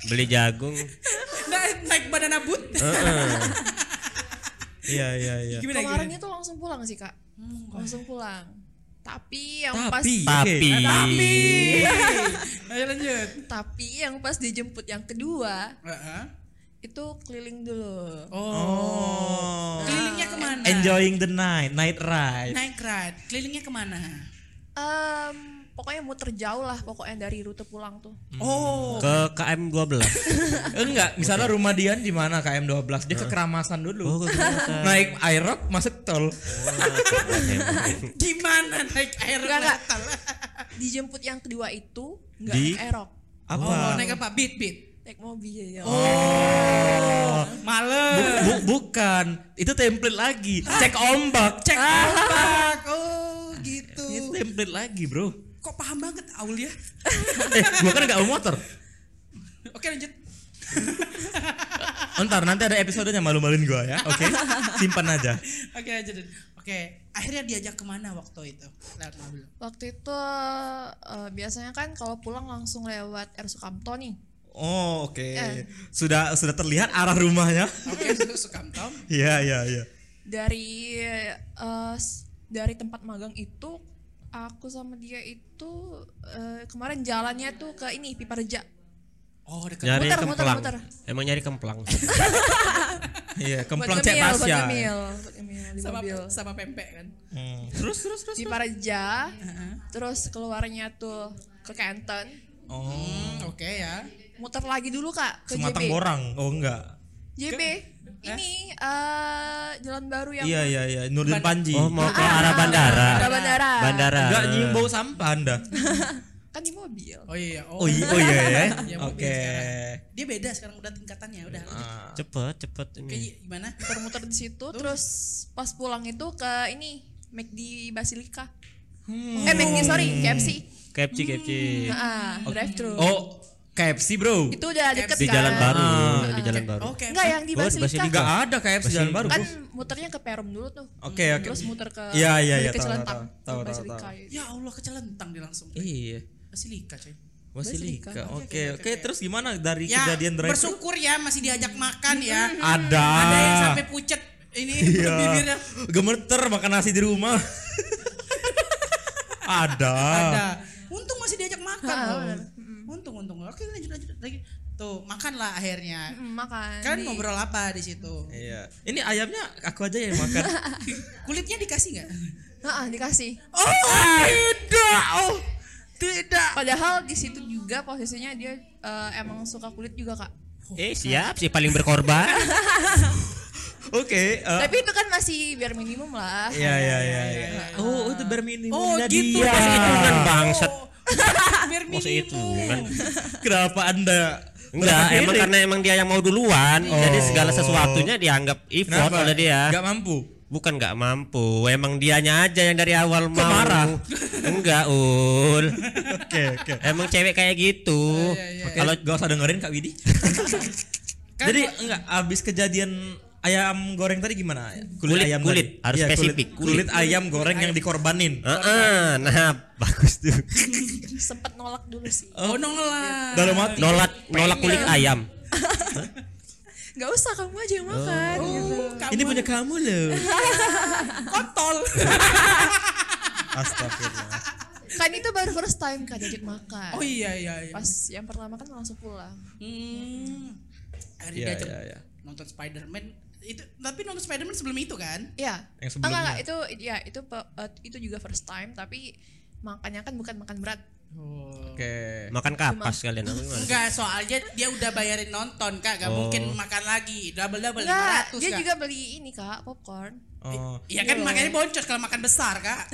S3: beli jagung.
S1: naik, Nah, naik badan abut
S2: Eh. Iya, iya, iya.
S1: gimana gimana
S4: kemarinnya tuh langsung pulang sih kak langsung pulang tapi yang pas
S2: Tapi,
S3: Iya Tapi,
S2: oke.
S1: ayo lanjut
S4: tapi yang pas dijemput yang kedua
S1: Heeh.
S4: itu keliling dulu
S1: oh
S2: Oh.
S1: kelilingnya kemana
S2: Enjoying the night, night ride.
S1: naik ride kelilingnya kemana
S4: Em, pokoknya muter jauh lah pokoknya dari rute pulang tuh
S2: Hmm.
S1: oh
S3: ke KM 12.
S2: Enggak, misalnya rumah Dian di mana KM 12, dia ke keramasan
S3: Oh,
S2: dulu.
S3: ke Kalimantan.
S2: Naik aerok masuk tol.
S1: gimana naik air
S4: Enggak, enggak.
S1: rental?
S4: Eh, dijemput yang kedua itu nggak
S2: Di?
S4: naik erok
S1: oh
S2: Apa?
S1: naik apa beat beat
S4: naik mobil
S2: Oh. Bu-
S1: males
S2: bu- bukan, itu template lagi. Cek ombak, cek
S1: Kompak. oh gitu
S2: Itu template lagi, Bro.
S1: kok paham banget Aul ya
S2: eh, gua kan enggak mau motor.
S1: oke lanjut
S2: Ntar nanti ada episodenya malu-maluin gua ya. Oke. Simpan aja.
S1: oke lanjut oke akhirnya diajak kemana waktu itu lewat mobil
S4: waktu itu eh, biasanya kan kalau pulang langsung lewat R Sukamto nih
S2: Oh, oke.
S4: Eh.
S2: Sudah sudah terlihat arah rumahnya.
S1: oke itu Sukamtom
S2: Iya, iya, iya.
S4: dari eh, s- dari tempat magang itu aku sama dia itu eh, kemarin jalannya tuh ke ini Piparja
S1: oh dekat
S2: Ya.
S3: Nyari
S4: Muter, muter,
S3: kemplang.
S4: muter.
S3: Emang nyari kemplang.
S2: Iya, kemplang
S4: buat
S2: cek
S4: ngemil, buat
S2: Tasya.
S4: ngemil, buat ngemil di
S1: sama
S4: mobil
S1: sama pempek kan
S2: Hmm.
S1: terus terus terus
S4: di Paraja terus keluarnya tuh ke Canton
S2: Oh.
S1: Hmm, oke ya
S4: muter lagi dulu kak ke
S2: Sematang
S4: JB
S2: Borang. Oh, enggak.
S4: JB ini eh jalan baru yang
S2: Iya iya iya Nurdin Panji. Ah,
S3: Oh, mau ke arah bandara.
S4: Ke bandara.
S3: Bandara.
S2: Enggak nyium bau sampah Anda.
S4: kan di mobil
S1: oh iya
S2: Oh iya oh iya ya.
S1: Iya,
S2: Oke.
S1: mobil
S2: Ah.
S1: sekarang. dia beda sekarang udah tingkatannya udah lanjut.
S3: Cepet, cepet
S1: Oke,
S3: ini.
S1: gimana
S4: muter di situ terus pas pulang itu ke ini McD Basilika eh McD sorry KFC
S3: KFC, KFC.
S4: Nah, drive thru
S2: Oh KFC bro.
S4: itu udah deket
S3: Di
S4: kan
S3: jalan baru, di
S1: Oke.
S3: jalan baru.
S1: oke
S4: enggak ya. yang di
S3: Oh, di
S4: Basilika,
S3: Basilika.
S2: Enggak ada KFC jalan baru
S4: kan
S2: bro.
S4: muternya ke Perum dulu tuh
S2: Oke oke.
S4: terus muter ke
S2: Iya iya iya tahu
S4: balik ke
S2: tahu
S4: Celentang
S2: tahu.
S4: ke
S2: Tahu tahu
S4: Basilika
S2: tahu.
S4: itu.
S1: ya Allah kecelentang dia langsung
S2: Iya.
S1: Basilika coy
S2: Basilika.
S4: Basilika.
S2: Oke oke terus gimana dari
S1: ya
S2: kejadian drive thru?
S1: bersyukur ya masih diajak makan ya
S2: Ada.
S1: ada yang sampai pucet ini
S2: Iya.
S1: bibirnya
S2: Gemeter makan nasi di rumah. ada.
S1: ada untung masih diajak makan
S4: Ah,
S1: loh.
S4: benar.
S1: untung untung oke lanjut lanjut lagi tuh makanlah akhirnya
S4: Mm, makan
S1: kan
S4: di-
S1: ngobrol apa di situ
S2: Iya. Ini ayamnya aku aja yang makan.
S1: kulitnya dikasih nggak
S4: Heeh, dikasih
S1: oh tidak oh tidak
S4: padahal di situ juga posisinya dia eh, emang suka kulit juga kak
S3: Eh, siap sih paling berkorban.
S2: Oke. eh,
S4: tapi itu kan masih biar minimum lah
S2: Iya iya iya. iya. Oh itu bare minimum
S1: Oh, gitu.
S2: dia.
S1: Masih
S3: hitungan kan, bangsat.
S1: biar
S3: Masa itu kan.
S1: minimum
S2: Kenapa anda
S3: Enggak,
S2: merasa
S3: emang
S2: sirik?
S3: karena emang dia yang mau duluan. Jadi segala sesuatunya dianggap effort ya.
S2: Kenapa?
S3: oleh dia.
S2: Gak mampu.
S3: Bukan nggak mampu, emang dianya aja yang dari awal mau.
S2: marah?
S3: Enggak, Ul.
S2: Oke oke.
S3: Emang cewek kayak
S4: Oh, iya,
S3: gitu.
S2: Kalau gak usah dengerin Kak Widi.
S1: Kan
S2: Jadi enggak abis kejadian ayam goreng tadi gimana?
S3: Kulit,
S2: ayam
S3: kulit.
S2: tadi.
S3: Harus
S2: Iya, kulit-
S3: spesifik.
S2: Kulit, ayam goreng yang dikorbanin.
S3: Heeh, nah bagus tuh.
S4: sempet nolak dulu sih
S1: oh nolak
S2: Dalam hati.
S3: Nolak nolak kulit
S4: Iya.
S3: ayam.
S4: nggak usah kamu aja yang makan
S2: Oh.
S4: gitu.
S1: kamu
S2: Ini punya kamu loh.
S1: kontol
S2: Astagfirullah.
S4: kan itu baru first time kak diajak makan
S1: oh iya iya iya
S4: pas yang pertama kan langsung pulang
S1: Hmm. akhirnya
S2: Iya,
S1: dia ajak
S2: iya, iya.
S1: nonton Spider-Man itu tapi nonton Spider-Man sebelum itu kan
S4: Iya.
S2: Yang
S4: Ah, enggak,
S2: sebelumnya.
S4: enggak, itu ya itu pe- eh, itu juga first time tapi makannya kan bukan makan berat.
S1: oh.
S2: Oke.
S3: Makan kapas kalian apa gimana?
S1: enggak soalnya dia udah bayarin nonton kak gak
S2: Oh.
S1: mungkin makan lagi double double
S4: Enggak,
S1: 500
S4: dia
S1: kak
S4: juga beli ini Kak, popcorn.
S2: Oh.
S1: iya kan
S4: Iya.
S1: makanya boncos kalau makan besar kak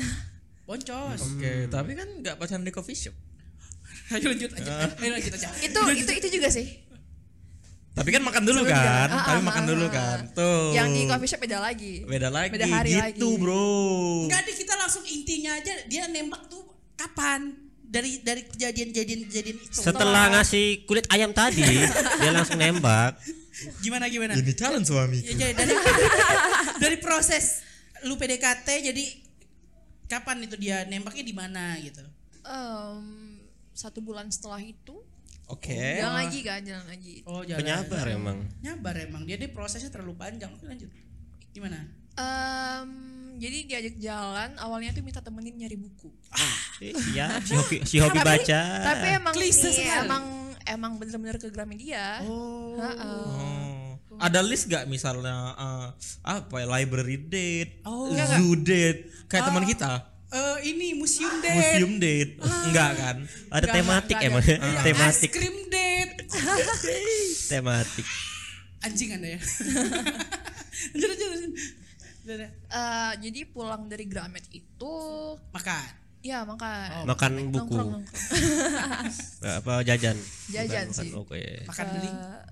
S1: boncos
S2: Oke, tapi kan nggak pacaran di coffee shop.
S1: ayo lanjut aja
S3: Ah.
S1: ayo lanjut aja
S4: Itu itu itu juga sih.
S2: Tapi kan makan dulu
S4: Sebelum
S2: kan,
S4: jalan. Ah,
S2: tapi
S4: ah,
S2: makan
S4: ah,
S2: dulu
S4: ah.
S2: kan. Tuh.
S4: Yang di coffee shop beda lagi.
S2: beda lagi
S4: beda hari
S2: gitu,
S4: lagi.
S2: Bro.
S1: Enggak deh kita langsung intinya aja dia nembak tuh kapan dari dari kejadian-kejadian kejadian itu.
S3: Setelah ngasih kulit ayam tadi, dia langsung nembak.
S1: gimana gimana?
S2: Ini calon suami.
S1: Ya, jadi dari dari proses lu PDKT jadi kapan itu dia nembaknya di mana gitu.
S4: Em, satu bulan setelah itu
S2: Oke.
S4: jalan lagi kan, jalan lagi.
S1: Oh, jalan.
S3: Penyabar emang.
S1: Nyabar emang dia deh prosesnya terlalu panjang. Oke, lanjut. Gimana?
S4: Em, jadi diajak jalan, awalnya tuh minta temenin nyari buku.
S3: Eh, Iya, si hobi si hobi baca.
S4: Ah. Tapi emang
S1: Klise
S4: ini
S1: sekali.
S4: emang emang bener-bener ke Gramedia.
S1: Oh.
S4: Heeh.
S2: Oh. Ada list gak misalnya eh, apa ya, library date,
S1: Oh.
S2: zoo date, kayak teman
S4: Ah,
S2: kita,
S1: Eh, ini
S3: Ah,
S1: museum date.
S2: museum date, enggak kan?
S3: Ada
S1: Enggak,
S3: tematik
S1: enggak,
S3: emang.
S1: enggak.
S4: Iya.
S3: Ah.
S1: Ice
S3: Tematik,
S1: cream date.
S3: tematik.
S1: Anjing Anda ya. lanjut lanjut. lanjut. Udah, udah.
S4: Eh, jadi pulang dari Gramet itu
S1: Makan.
S4: ya maka
S3: Makan
S4: nongkrong
S3: buku.
S4: nongkrong.
S3: Apa jajan? iya.
S4: Jajan
S3: Bukan,
S4: sih.
S3: bukan. Oke.
S1: Makan beling.
S4: Eh,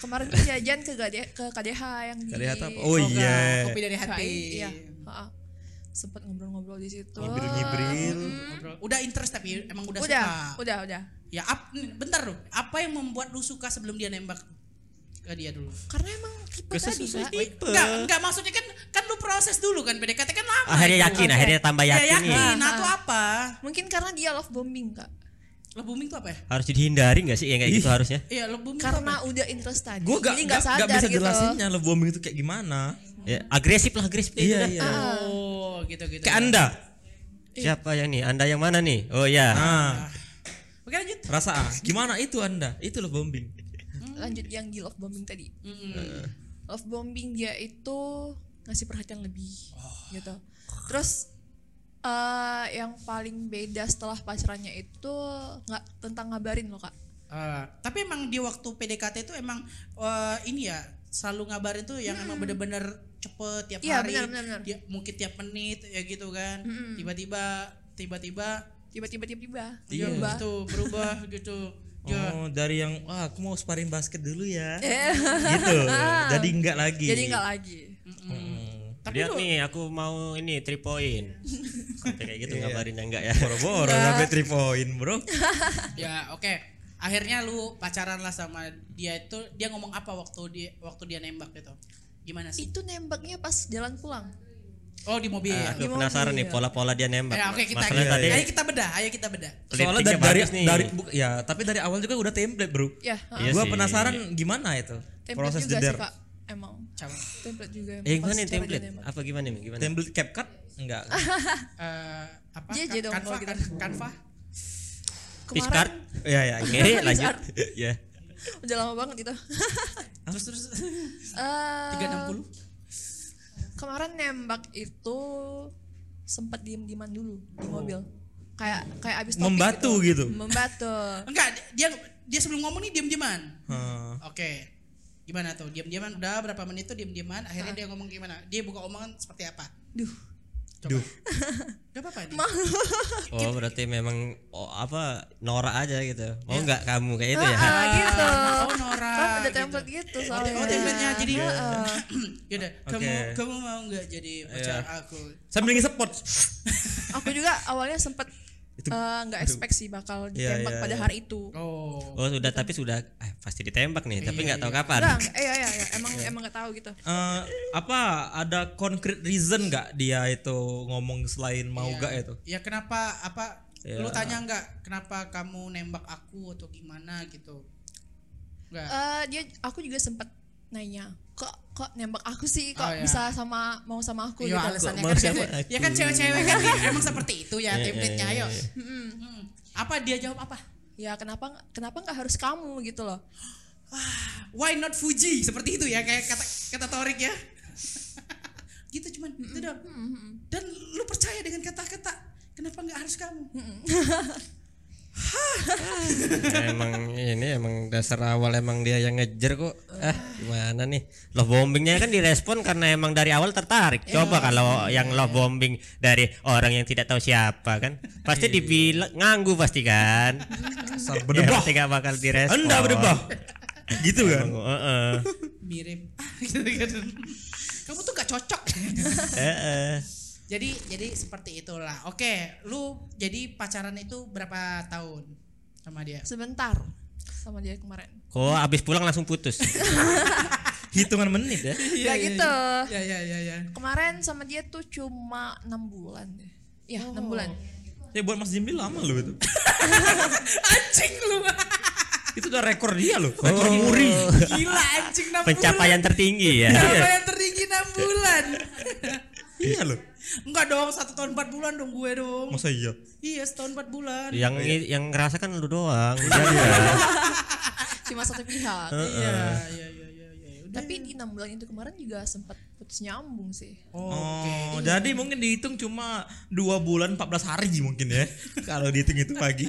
S4: kemarin tuh jajan ke KDH, ke KDH yang di
S2: Kalian apa? Oh
S1: Enggak,
S2: iya.
S1: Kopi dari hati.
S4: iya heeh. sempet ngobrol-ngobrol di situ
S2: Ngibril-ngibril.
S1: Ngobrol. Udah interest tapi emang udah,
S4: udah
S1: suka.
S4: udah udah
S1: Ya ap- bentar loh. Apa yang membuat lu suka sebelum dia nembak ke dia dulu?
S4: karena emang tipe tadi
S3: Kesusus
S4: Kak.
S3: tipe.
S1: Enggak, enggak maksudnya kan kan lu proses dulu kan PDKT kan lama. itu.
S3: Ah, Akhirnya yakin,
S4: Oke.
S3: akhirnya tambah
S1: Ya,
S3: yakin. iya. nih.
S1: yakin
S4: Ah,
S1: atau
S4: ah.
S1: apa?
S4: mungkin karena dia love bombing kak
S1: Love booming tuh apa ya?
S3: Harus dihindari nggak sih yang kayak gitu harusnya?
S1: Iya, love booming tuh apa?
S4: karena udah interest tadi
S2: Gue gak,
S4: jadi
S2: gak,
S4: nggak sadar
S2: bisa
S4: gitu
S2: jelasinnya love bombing itu kayak gimana.
S3: Ya, agresif lah agresif kayak gitu dah.
S2: iya.
S4: eh.
S1: ya?
S4: Ah.
S1: Oh, gitu-gitu.
S2: Ke
S3: Kan-
S2: anda.
S3: Siapa yang nih? Anda yang mana nih? Oh ya.
S2: Nah,
S1: Oke, lanjut.
S2: rasa ah. gimana itu anda? Itu love bombing.
S4: lanjut yang di love bombing tadi
S1: Mm.
S3: Eh.
S4: love bombing dia itu ngasih perhatian lebih gitu terus eh yang paling beda setelah pacarannya itu nggak tentang ngabarin loh kak
S1: Eh, tapi emang di waktu PDKT itu emang eh, ini ya selalu ngabarin tuh yang emang bener-bener cepet tiap
S4: Hmm. Iya,
S1: hari,
S4: benar, benar, benar. Hmm.
S1: Dia- mungkin tiap menit ya gitu kan,
S4: Mm-mm.
S1: tiba-tiba tiba-tiba
S4: tiba-tiba tiba-tiba
S1: dia
S3: Iya.
S4: berubah.
S1: gitu berubah gitu,
S4: Iya.
S1: ya
S2: Oh, dari yang wah aku mau sparring basket dulu ya.
S4: Eh,
S2: gitu. Jadi enggak lagi.
S4: Ah. jadi nggak lagi
S2: Hmm.
S1: Tapi
S3: Lihat
S1: lu-
S3: nih, aku mau ini three point. Sampai kayak gitu ngabarinnya enggak ya?
S2: Iya. Boro-boro sampai 3 point, Oh, Bro.
S1: ya oke. Akhirnya lu pacaran lah sama dia itu dia ngomong apa waktu dia waktu dia nembak gitu? Gimana sih?
S4: itu nembaknya pas jalan pulang
S1: Oh di mobil.
S3: Nah,
S1: ya
S3: aku penasaran nih pola-pola dia nembak.
S1: Ya, oke kita
S2: Iya,
S3: Masalahnya tadi
S1: ayo kita bedah, ayo kita bedah.
S2: Soalnya
S3: Liftingnya
S2: dari dari,
S3: bagus nih.
S2: dari bu- ya, tapi dari awal juga udah template, Bro.
S4: ya
S3: Iya
S2: gua
S3: sih.
S2: penasaran gimana itu
S4: template
S2: proses
S4: juga
S2: jeder.
S4: sih kak emang
S1: Coba.
S4: template juga emang
S3: Eh
S4: pas
S3: gimana nih
S4: cara
S3: template?
S4: dia nembak.
S3: Apa gimana nih? Gimana?
S2: Template CapCut enggak?
S1: Eh, apa?
S4: Dia
S1: Ka-
S4: jadi dong
S1: kanva,
S4: kalau gitu.
S1: kan- kanva.
S3: Pitch card?
S4: kemarin
S2: ya ya.
S3: Oke,
S2: gitu.
S3: lanjut.
S2: Iya.
S3: Ya.
S4: udah lama banget itu
S1: Terus terus
S4: Eh,
S1: 360.
S4: kemarin nembak itu sempat diem-dieman dulu di mobil kayak kayak abis topik
S2: Oh. Membatu gitu.
S4: membatu
S1: Enggak, dia dia sebelum ngomong nih diam-diaman.
S2: Hmm.
S1: Oke. Gimana tuh? Diam-diaman udah berapa menit tuh diam-diaman, akhirnya dia ngomong gimana? Dia buka omongan seperti apa?
S4: duh
S2: Duh.
S1: Gak apa-apa. nih.
S3: Oh, berarti memang oh, apa Nora aja gitu. Mau enggak kamu kayak itu ya?
S4: Ah, gitu
S1: oh, Nora,
S4: kan ada
S1: gitu.
S4: template gitu Iya.
S1: Oh,
S4: soalnya
S1: oh, template-nya jadi
S4: Heeh.
S1: Yaudah,
S2: Oke.
S1: kamu kamu mau nggak jadi pacar aku?
S2: Sambil ngisepot.
S4: aku juga awalnya sempat
S2: Itu-
S4: eh, nggak expect sih bakal
S2: Iya,
S4: ditembak
S2: iya,
S4: pada
S2: iya.
S4: hari itu
S1: Oh.
S3: Oh, sudah tapi sudah ah, pasti ditembak nih, tapi enggak tahu kapan.
S4: Enggak, enggak, iya, iya, iya. emang emang nggak tahu gitu.
S2: Eh, apa ada concrete reason nggak dia itu ngomong selain mau
S1: Iya.
S2: nggak itu?
S1: Ya kenapa apa
S2: Iya.
S1: lu tanya nggak kenapa kamu nembak aku atau gimana gitu? Enggak.
S4: Eh dia, aku juga sempat nanya, kok kok nembak aku sih, kok
S1: Oh, iya.
S4: bisa sama mau sama aku
S1: Iya
S4: gitu.
S1: alasannya
S3: Mau
S1: kan,
S3: siapa
S1: ya kan
S3: aku?
S1: cewek-cewek kan dia emang seperti itu ya
S3: Iya,
S1: template-nya
S3: iya,
S1: ayo.
S3: iya.
S1: Mm-mm. Hmm. Apa dia jawab apa?
S4: Ya kenapa kenapa nggak harus kamu gitu loh?
S1: "Ah, why not Fuji seperti itu ya kayak kata kata Torik ya gitu cuman
S4: Hmm.
S1: itu dong dan lu percaya dengan kata-kata kenapa nggak harus kamu
S4: Hmm,
S3: Nah, emang ini emang dasar awal emang dia yang ngejer kok. Ah, gimana nih? Love bombingnya kan direspon karena emang dari awal tertarik. Coba kalau yang love bombing dari orang yang tidak tahu siapa kan, pasti dibilang nganggu pasti kan.
S2: Dasar
S3: Ya,
S2: berdebah.
S3: pasti gak bakal direspon.
S2: Anda berdebah. gitu kan.
S3: Emang, eh, heeh.
S1: mirip Ah, gitu gitu kamu tuh gak cocok
S3: Heeh.
S1: jadi jadi seperti itulah oke lu jadi pacaran itu berapa tahun sama dia
S4: sebentar sama dia kemarin
S3: Kok abis pulang langsung putus.
S2: Hitungan menit ya.
S3: Iya,
S4: Nggak gitu
S1: ya ya ya ya
S4: kemarin sama dia tuh cuma enam bulan deh ya
S3: Oh.
S4: enam bulan
S1: Oh.
S2: Ya buat Mas Jimli lama loh itu.
S1: anjing lu
S2: Itu udah rekor dia loh.
S3: Oh.
S2: Rekor muri.
S1: gila anjing 6
S3: Pencapaian tertinggi ya.
S1: pencapaian tertinggi 6 bulan
S2: iya loh.
S1: enggak dong satu tahun 4 bulan dong gue dong
S2: Masa iya?
S1: iya setahun 4 bulan
S3: yang yang ngerasa kan lu doang. Iya.
S4: cuma satu pihak
S1: iya iya iya iya iya udah
S4: tapi di enam bulan itu kemarin juga sempat putus nyambung sih
S1: oh, oke
S2: Oh, jadi mungkin dihitung cuma dua bulan 14 hari mungkin ya. Kalau dihitung itu pagi.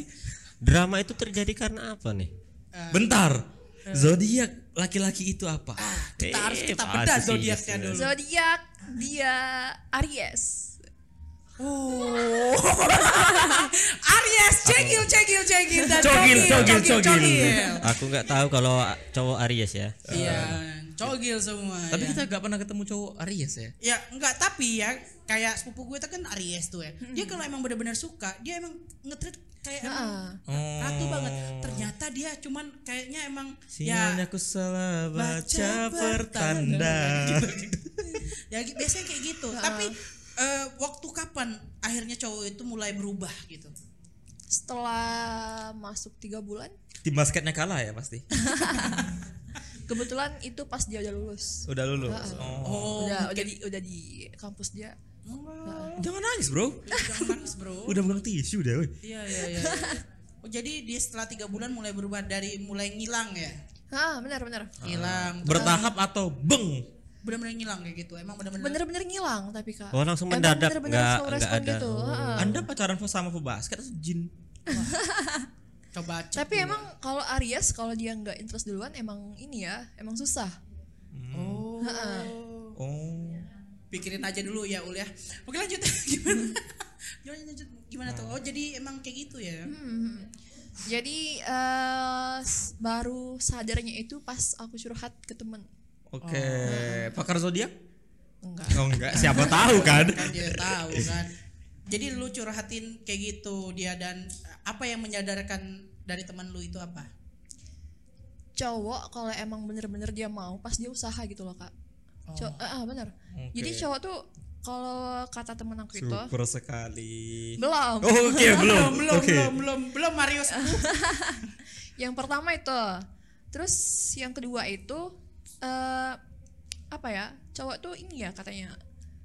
S3: Drama itu terjadi karena apa nih?
S2: Bentar. Zodiak laki-laki itu apa?
S1: kita harus
S3: Eh,
S1: kita
S3: pasti
S1: bedah
S3: sih,
S1: zodiaknya
S3: Hmm.
S1: dulu
S4: zodiak dia Aries
S1: Oh. Aries, cegil, cegil, cegil, dan
S2: Cogil, cogil, cogil.
S3: Aku nggak tahu kalau a- cowok Aries ya.
S1: Iya, cogil semua.
S2: Tapi
S1: ya.
S2: kita gak pernah ketemu cowok Aries ya.
S1: ya enggak tapi ya kayak sepupu gue itu kan Aries tuh ya. Dia kalau emang benar-benar suka, dia emang ngetrit kayak
S3: Hmm.
S1: emang
S4: Ah.
S1: ratu banget. Ternyata dia cuman kayaknya emang
S2: Oh. Sinyalnya
S1: ya
S2: aku salah
S1: baca
S2: baca pertanda.
S1: ya gi- biasanya kayak gitu. Tapi eh, waktu kapan akhirnya cowok itu mulai berubah gitu?
S4: setelah masuk tiga bulan
S2: Tim basketnya kalah ya pasti.
S4: kebetulan itu pas dia udah lulus
S2: Udah lulus. Oh.
S1: Oh,
S4: udah udah di udah di kampus dia
S2: Jangan nangis, Bro.
S1: jangan nangis, Bro.
S2: Udah bukan tisu deh. woi.
S1: Iya iya iya. iya. Oh, jadi dia setelah tiga bulan mulai berubah dari mulai ngilang ya,
S4: ah benar benar
S1: ngilang,
S2: Bertahap atau beng?
S1: benar-benar ngilang kayak gitu. Emang benar-benar
S4: bener-bener ngilang tapi kak
S3: Oh, langsung
S4: Emang
S3: mendadak,
S4: bener-bener
S3: nggak-
S4: slow
S3: nggak
S4: respon
S3: ada.
S4: gitu.
S3: Oh.
S4: ah.
S2: Anda pacaran sama pebasket atau jin?
S1: coba cek.
S2: Iya.
S4: tapi emang kalau Aries kalau dia nggak interest duluan emang ini ya emang susah
S2: Hmm.
S1: Oh.
S2: Oh.
S1: Pikirin aja dulu ya Ul ya. Oke lanjut gimana? Gimana lanjut gimana tuh? Oh jadi emang kayak gitu ya?
S4: Hmm. Jadi eh, s- baru sadarnya itu pas aku curhat ke temen
S2: Oke, pakar zodiak?
S4: Enggak.
S2: Oh enggak, siapa tahu kan?
S1: Kan dia tahu kan. Jadi lu curhatin kayak gitu dia dan apa yang menyadarkan dari teman lu itu apa?
S4: Cowok kalau emang bener-bener dia mau pas dia usaha gitu loh, Kak. Cow- eh, eh, bener.
S2: Oke.
S4: Jadi cowok tuh kalau kata temen aku itu
S2: Super sekali.
S4: belum.
S2: Oh, Oke, belum.
S1: belum,
S2: Oke.
S1: belum, belum, belum Mario
S4: Yang pertama itu. Terus yang kedua itu eh apa ya? Cowok tuh ini ya katanya.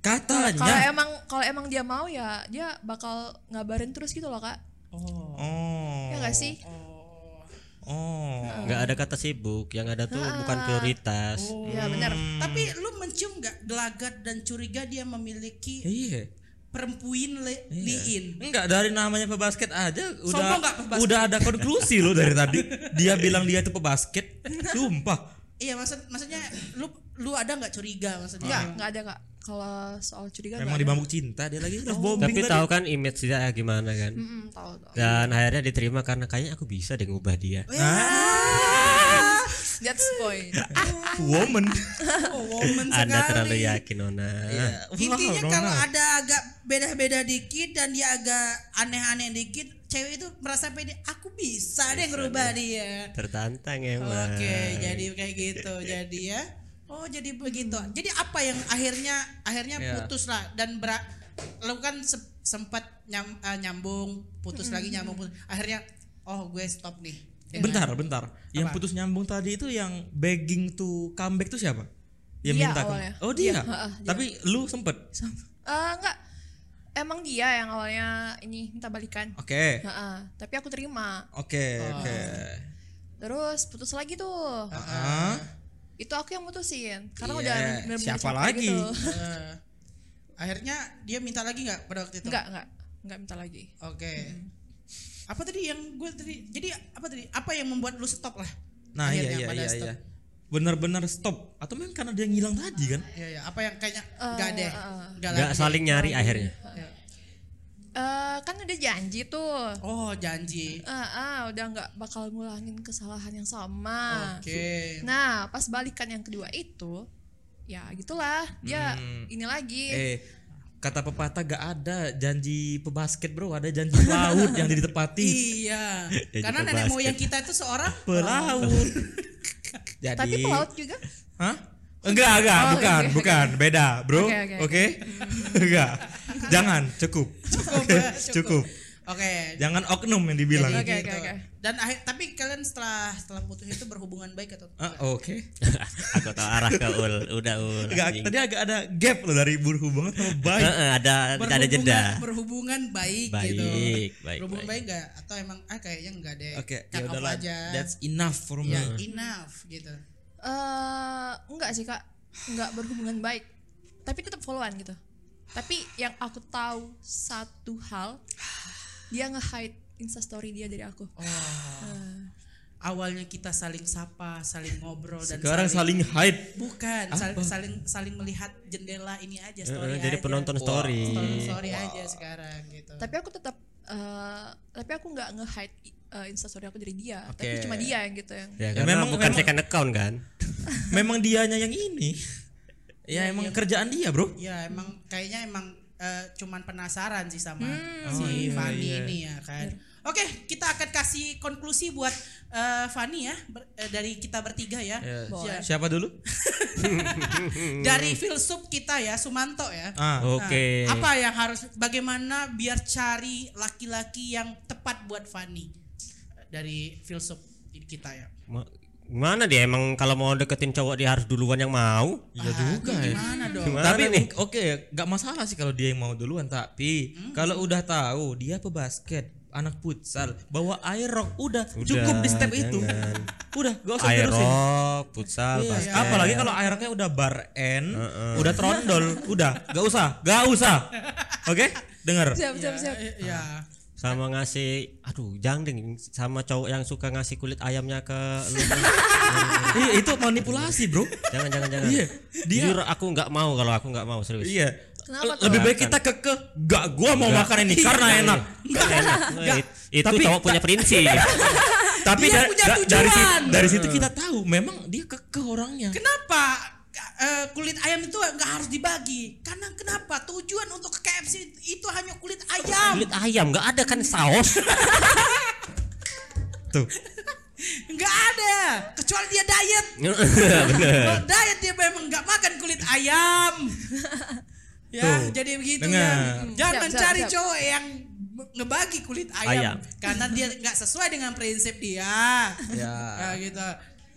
S4: Kalau
S2: Katanya.
S4: emang kalau emang dia mau ya dia bakal ngabarin terus gitu loh, Kak.
S1: Oh.
S2: Oh.
S4: Ya gak sih?
S1: Oh.
S2: Oh.
S3: Nggak ada kata sibuk, yang ada tuh bukan prioritas.
S1: Oh,
S4: Ya bener.
S1: Tapi lu mencium gak gelagat dan curiga dia memiliki
S2: Iya.
S1: perempuin le- liin?
S2: Enggak dari namanya pebasket aja udah
S1: Sombong nggak pebasket?
S2: udah ada konklusi loh dari tadi. Dia bilang dia itu pebasket. Sumpah.
S1: Iya maksud maksudnya lu lu ada nggak curiga maksudnya?
S2: Ah.
S4: Enggak, enggak ada kak. Kalau soal curiga
S2: Memang
S4: nggak ada.
S2: dibambuk cinta dia lagi
S1: Oh.
S2: love bombing
S3: Tapi
S2: tadi.
S3: tahu kan image dia gimana kan?
S1: Hmm.
S4: Mm-mm, tahu tahu.
S3: Dan akhirnya diterima karena kayaknya aku bisa deh ngubah dia.
S1: Eh,
S4: That's point.
S2: Woman.
S1: Oh, woman
S3: Anda
S1: sekali. Iya.
S3: terlalu yakin Nona.
S2: ya.
S1: Intinya
S2: Wow,
S1: kalau
S2: Nona.
S1: ada agak beda-beda dikit dan dia agak aneh-aneh dikit, cewek itu merasa pede, aku bisa deh ngerubah dia.
S3: Tertantang emang.
S1: Oke, jadi kayak gitu. jadi ya. Oh, jadi begitu. Jadi apa yang akhirnya akhirnya
S2: Iya.
S1: putus lah dan berat lu kan se- sempat nyam- eh, nyambung, putus lagi nyambung. putus. Akhirnya oh, gue stop nih. Ya kan?
S2: Bentar, bentar. Yang putus nyambung tadi itu yang begging to comeback itu siapa? Yang
S1: Iya,
S4: Dia
S2: minta come-
S4: awalnya.
S2: Oh dia.
S4: Dia, heeh, dia.
S2: Tapi lu sempet.
S4: Eh, enggak. Emang dia yang awalnya ini minta balikan.
S2: Oke.
S4: Heeh, tapi aku terima.
S2: Oke, oke.
S4: Terus putus lagi tuh.
S2: Ah,
S4: Itu aku yang mutusin karena
S3: Iya,
S4: udah bener-bener
S3: siapa
S4: capek
S3: lagi?
S4: Gitu.
S1: Eh, akhirnya dia minta lagi nggak pada waktu itu?
S4: Enggak, enggak. Enggak minta lagi.
S1: Oke. Apa tadi yang gue tadi? Jadi apa tadi? Apa yang membuat lu stop lah?
S2: nah iya
S1: Akhirnya
S2: iya
S1: pada
S2: iya
S1: stop.
S2: iya. Benar-benar stop atau memang karena dia ngilang tadi kan?
S1: Iya, iya. Apa yang kayaknya enggak deh. Enggak
S3: nggak
S1: lagi.
S3: saling nyari akhirnya
S1: Iya.
S4: Eh kan udah janji tuh.
S1: Oh, janji.
S4: Ah, ah, udah nggak bakal ngulangin kesalahan yang sama.
S1: Oke.
S4: Ah. Nah, pas balikan yang kedua itu, ya gitulah dia ini lagi.
S2: Eh kata pepatah gak ada janji pebasket bro ada janji laut yang ditepati
S1: Iya.
S3: Jadi
S1: Karena nenek
S3: pebasket.
S1: moyang kita itu seorang
S2: pelaut Eh,
S3: jadi
S4: Tapi pelaut juga.
S2: Hah? Enggak, enggak,
S4: Oh,
S2: bukan,
S4: oke.
S2: bukan, beda, bro. Oke,
S4: Oke, oke.
S2: enggak, jangan, cukup,
S1: cukup.
S2: Oke,
S1: ya,
S2: cukup.
S1: Oke.
S2: jangan oknum yang dibilang.
S1: Jadi
S4: Oke,
S1: gitu.
S4: oke, oke.
S1: Dan akhir tapi kalian setelah setelah putus itu berhubungan baik atau
S2: Ah, oke,
S3: aku tahu arah ke ul udah ul
S2: enggak.
S3: anjing.
S2: Tadi agak ada gap loh dari berhubungan sama baik.
S3: Heeh, ada ada jeda
S1: berhubungan baik, gitu.
S3: Baik, baik,
S1: Berhubungan
S3: baik.
S1: baik enggak atau emang ah kayaknya enggak deh.
S2: Oke,
S1: Cut
S2: ya
S1: off
S2: udahlah.
S1: aja.
S2: That's enough for me.
S1: ya enough gitu.
S4: eh enggak sih kak, enggak berhubungan baik. Tapi tetap followan gitu. Tapi yang aku tahu satu hal, dia nge-hide instastory dia dari aku.
S1: Oh.
S4: Ah.
S1: Awalnya kita saling sapa, saling ngobrol dan
S2: Sekarang saling hide.
S1: bukan saling, saling saling melihat jendela ini aja story
S3: Heeh, Eh, jadi
S1: aja.
S3: penonton story
S1: Story- story aja sekarang gitu.
S4: Tapi aku tetap, eh tapi aku nggak nge-hide eh, instastory aku dari dia.
S2: Oke.
S4: Tapi cuma dia yang gitu yang.
S3: ya,
S2: Ya,
S3: karena
S2: memang-
S3: bukan
S2: memang-
S3: second account kan
S2: Memang dianya yang ini. Ya emang kerjaan dia, bro.
S4: Hmm.
S1: Ya emang kayaknya emang eh, cuman penasaran sih sama
S4: Hmm.
S1: si Fani ini ya kan. Oke, kita akan kasih konklusi buat eh, Fani ya ber- eh, dari kita bertiga ya.
S4: Boleh.
S2: Iya.
S1: Ya,
S2: Siapa dulu?
S1: Dari filsuf kita ya, Sumanto ya.
S2: Ah,
S1: Nah,
S3: oke
S1: Apa yang harus bagaimana biar cari laki-laki yang tepat buat Fani Eh, dari filsuf kita ya.
S3: Ma- Gimana dia emang kalau mau deketin cowok dia harus duluan yang mau
S2: iya juga ya.
S1: Gimana dong?
S3: Gimana
S2: tapi
S3: nih?
S2: mungkin- oke nggak masalah sih kalau dia yang mau duluan tapi
S4: Hmm.
S2: kalau udah tahu dia pebasket anak futsal bawa air rock udah, cukup di step itu
S3: jangan.
S2: udah gak usah terusin
S3: aerok futsal
S2: Iya,
S3: basket
S2: apalagi kalau air rocknya udah bar end udah trondol udah gak usah gak usah oke dengar
S4: Siap, siap, siap.
S1: Eh, Ya.
S3: sama ngasih aduh jangan ding sama cowok yang suka ngasih kulit ayamnya ke lu
S2: Iya, itu manipulasi bro
S3: jangan jangan jangan
S2: Iya, dia-
S3: jujur aku nggak mau kalau aku nggak mau serius
S2: iya
S4: Kenapa tuh?
S2: lebih baik kita keke gak gua mau makan ini karena enak
S3: Nggak Iya. enak.
S2: Nggak.
S3: It- itu
S2: Tapi-
S3: cowok punya prinsip
S2: tapi
S1: Dia
S2: da-
S1: punya
S2: da- dari situ,
S1: tujuan.
S2: dari situ kita tahu memang dia keke orangnya
S1: Kenapa eh, kulit ayam itu nggak harus dibagi? Karena kenapa? Tujuan untuk ke KFC itu hanya kulit ayam.
S3: kulit ayam nggak ada kan saus
S2: tuh
S1: Nggak ada. Kecuali dia diet.
S2: Eh.
S1: Kalau diet dia memang nggak makan kulit ayam. ya,
S2: Tuh,
S1: jadi begitu
S2: dengar.
S1: ya. Jangan
S4: Siap, siap,
S1: cari
S4: siap.
S1: cowok yang me- ngebagi kulit ayam,
S3: Ayam.
S1: karena dia nggak sesuai dengan prinsip dia.
S2: Ya.
S1: Ya, gitu.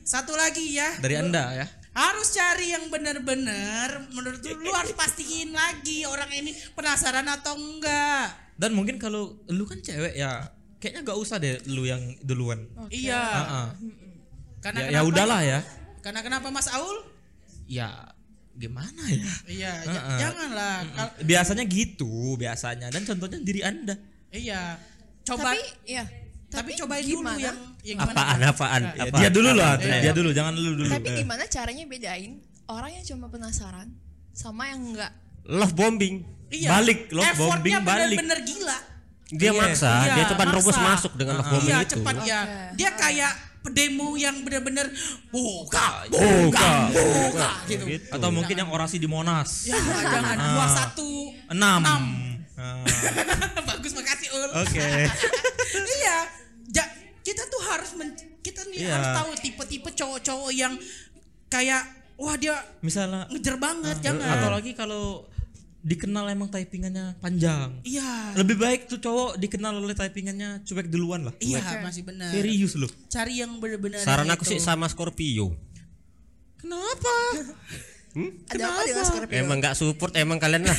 S1: Satu lagi ya.
S2: dari anda ya
S1: harus cari yang benar-benar menurut lu, lu harus pastiin lagi orang ini penasaran atau enggak
S2: dan mungkin kalau lu kan cewek ya kayaknya gak usah deh lu yang duluan
S1: iya
S2: Ah, ah.
S1: karena
S2: ya, ya
S1: kenapa-
S2: udahlah ya
S1: karena kenapa Mas Aul
S2: ya gimana ya
S1: iya
S2: Ah,
S1: j-
S2: ah.
S1: janganlah Kal-
S2: biasanya gitu biasanya dan contohnya diri anda
S1: iya coba
S4: Tapi,
S1: tapi,
S4: ya.
S1: cobain dulu yang, yang gimana
S3: apaan apaan
S1: Nah,
S2: Ya,
S3: Apaan? Iya.
S2: dia dulu lah
S3: Apaan?
S2: Iya. dia dulu jangan lu dulu
S4: Tapi
S2: Eh.
S4: gimana caranya bedain orang yang cuma penasaran sama yang enggak?
S3: love bombing
S1: iya.
S2: balik, lo
S1: Effortnya
S2: bombing, balik.
S1: bener-bener gila
S3: dia
S2: Iya.
S3: maksa
S1: Iya,
S3: dia coba nerobos
S1: maksa.
S3: masuk dengan love bombing
S1: iya
S3: itu
S1: cepat ya
S4: Oke. Ah.
S1: dia kayak demo yang bener-bener
S2: Ah, iya.
S1: buka buka
S3: Buka,
S1: buka, gitu
S3: gitu.
S2: atau mungkin yang orasi di monas
S1: ya jangan
S2: Ah.
S1: dua satu
S2: enam
S1: Enam.
S2: Ah,
S1: Bagus makasih Ul.
S2: oke
S1: iya. Ja- kita tuh harus men- kita nih
S2: Iya.
S1: harus tahu tipe-tipe cowok-cowok yang kayak wah dia
S2: misalnya
S1: ngejer banget jangan.
S2: atau lagi kalau dikenal emang typingannya panjang
S1: Iya.
S2: lebih baik tuh cowok dikenal oleh typingannya cuek duluan lah
S1: Iya, masih benar.
S2: serius lu
S1: Cari yang benar-benar
S3: saran
S1: yang
S3: aku
S1: itu.
S3: sih sama Scorpio
S1: Kenapa? Iya.
S4: Ada apa dengan Scorpio?
S3: emang nggak support emang kalian lah